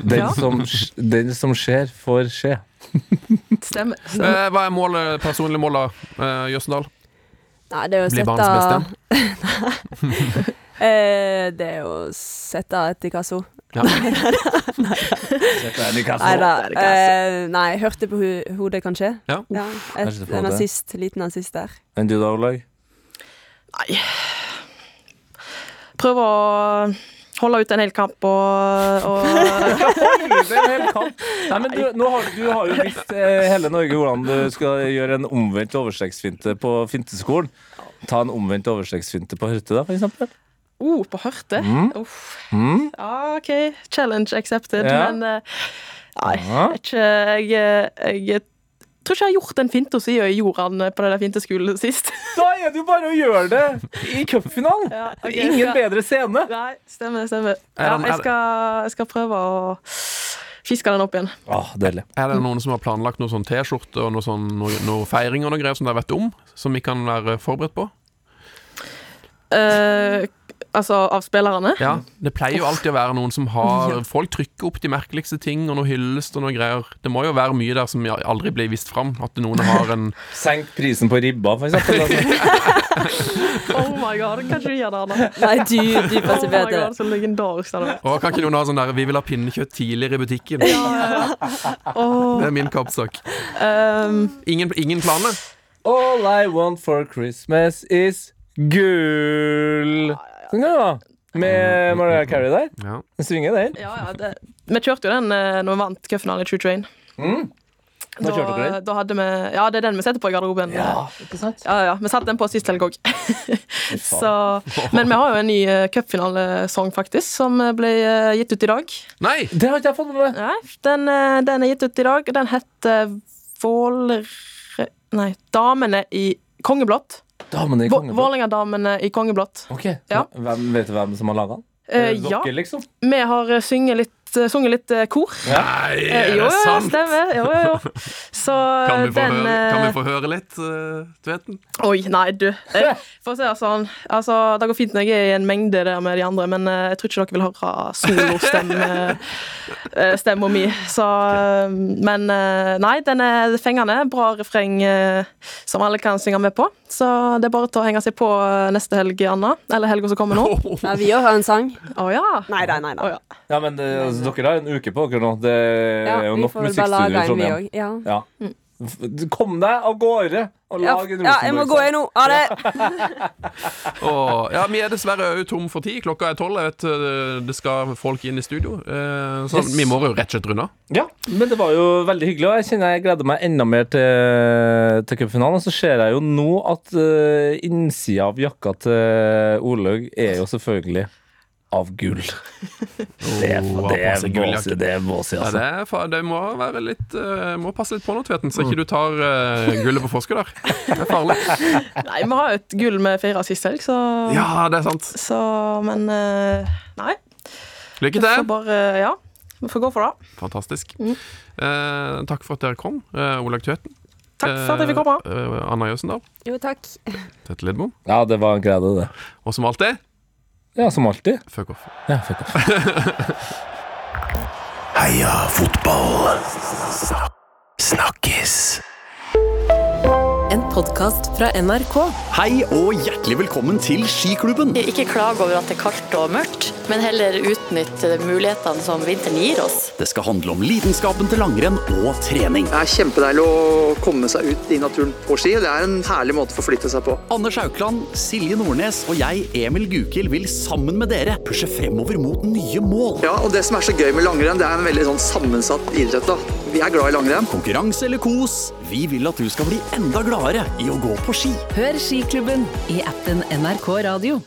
Den,
ja,
som, den som skjer, får skje.
stemmer. stemmer.
Eh, hva er målet, personlig mål, da, eh, Jøssendal?
Nei, det er jo å
Blir
sette
banens
<laughs>
beste?
<laughs> Eh, Det er jo å sette et i kasso.
Ja.
Dette er
Nei da.
det er ikke kasso.
eh, Nei, hørte på ho- hodet, kanskje.
Ja.
Ja,
er
et,
ikke det på
en
hodet.
nazist, liten nazist der.
Enn du da, Olag?
Prøve å holde ut en hel kamp og, og
Det er en hel kamp. Nei, men du, nå har, du har jo visst eh, hele Norge hvordan du skal gjøre en omvendt overstreksfinte på finteskolen. Ta en omvendt overstreksfinte på Hørte, da, for eksempel.
Oh, på hørte. Uff. Ja, OK. Challenge accepted.
Ja.
Men eh, nei,
Ja.
jeg, vet ikke, jeg, eh, jeg tror ikke jeg har gjort en finte siden jeg gjorde den på den der finteskolen sist.
Da er det jo bare å gjøre det i cupfinalen!
Ja, ok,
Ingen
ja.
bedre scene.
Nei, stemmer, stemmer.
Er
Ja,
den- er
jeg, skal, jeg skal prøve å fiske den opp igjen.
Åh, Deilig.
Er det noen som har planlagt noe sånn T-skjorte og noe, sånn, noe, noe feiring og noe greier som dere vet om? Som vi kan være forberedt på?
Eh, altså av spillerne.
Ja, Det pleier jo alltid å være noen som har Folk trykker opp de merkeligste ting og noe hyllest og noe greier. Det må jo være mye der som aldri blir vist fram. At noen har en
Senk prisen på ribba, for eksempel. Altså.
<laughs> Oh my god, kanskje du gjør det, Anna?
Nei, du, du
<laughs> Oh
passer
my
bedre.
god, så legendarisk det <laughs> er.
Å, kan ikke noen ha sånn der 'Vi vil ha pinnekjøtt tidligere i butikken'? Det er min kappsak.
Um,
Ingen, ingen planer?
<laughs> All I want for Christmas is gull. Sånn kan det være. Med Mariah Carey der.
Ja.
Den svinger, den.
ja, ja, det. Vi kjørte jo den eh, når vi vant cupfinalen i True Train.
Mm. Da kjørte dere den.
da hadde vi, ja, det er den vi setter på i garderoben.
Ja, ikke sant?
Ja, ja, Vi satte den på sist helg òg. Men vi har jo en ny eh, cupfinalesang, faktisk, som eh, ble eh, gitt ut i dag.
Nei!
Det har ikke jeg fått med meg.
Nei, den, eh, den er gitt ut i dag. og Den heter Vålre... Nei, Damene i kongeblått.
Damene i
Vå-
kongen.
Vålerenga-damene i kongeblått.
Ok,
Ja.
hvem, Vet du hvem som har laga den?
Eh,
Dere,
ja,
liksom?
vi har eh, sunget litt, eh, sunget litt eh, kor.
Nei,
Eh,
er det
jo, jo,
sant?
stemmer. Jo,
<laughs>
jo, jo. Så
Kan vi få,
den
høre, kan vi
eh,
få høre litt, eh, Tveten?
Oi, nei, du. Eh, For å si det sånn, altså, det går fint når jeg er i en mengde der med de andre, men eh, jeg tror ikke dere vil høre solostemma mi. Så, eh, men eh, nei, den er fengende. Bra refreng eh, som alle kan synge med på. Så det er bare til å henge seg på eh, neste helg, Anna. Eller helga som kommer nå. Å
Ja, vi òg har en sang.
ja.
Nei, nei, nei.
Å,
nei.
ja.
Ja, men det, altså, Dere har en uke på dere nå. Det
Ja,
er
vi
jo Eh, nok
får vel bare lage
musikkstudio i
en, vi
Trondheim.
òg. Ja.
Ja. F- Kom deg av gårde og
Ja,
lag en altså.
ja, jeg må gå, jeg nå. Ha det!
Åh, ja, vi er dessverre òg tom for tid. Klokka er tolv. Jeg vet øh, det skal folk inn i studio. Eh, Så
Yes.
vi må jo rett og slett runde av.
Ja, men det var jo veldig hyggelig, og jeg kjenner jeg gleder meg enda mer til, til cupfinalen. Og så ser jeg jo nå at uh, innsida av jakka til Olaug er jo selvfølgelig av gull. Oh, Det er
Åh,
det
passe
er
gulljakke.
våsi, det er våsi,
Ja,
altså.
det, er, fa- det må være litt øh, Må passe litt på nå, Tveten, så ikke du tar øh, gullet på forskudd der. Det er farlig.
Nei, vi har jo et gull med fire sist helg, så,
Ja, det er sant.
så Men eh, nei.
Lykke
Vi får
til.
bare Ja, vi får gå for det.
Fantastisk. Eh, takk for at dere kom, eh, Olaug Tveten.
Takk for at jeg fikk komme.
Eh, Anna Jøsendal,
Jo, takk.
Tete Lidbom,
Ja, det var en glede, det.
og som alltid,
Ja, som alltid.
fuck off.
Ja, fuck off.
Heia fotball! Snakkes!
En podkast fra NRK.
Hei og hjertelig velkommen til Skiklubben.
Ikke klage over at det er kaldt og mørkt, men heller utnytte mulighetene som vinteren gir oss.
Det skal handle om lidenskapen til langrenn og trening.
Det er kjempedeilig å komme seg ut i naturen på ski. Det er en herlig måte å forflytte seg på.
Anders Haukland, Silje Nordnes og jeg, Emil Gukild, vil sammen med dere pushe fremover mot nye mål.
Ja, og Det som er så gøy med langrenn, det er en veldig sånn sammensatt idrett. da. Vi er glad i langrenn.
Konkurranse eller kos, vi vil at du skal bli enda gladere i å gå på ski.
Hør Skiklubben i appen NRK Radio.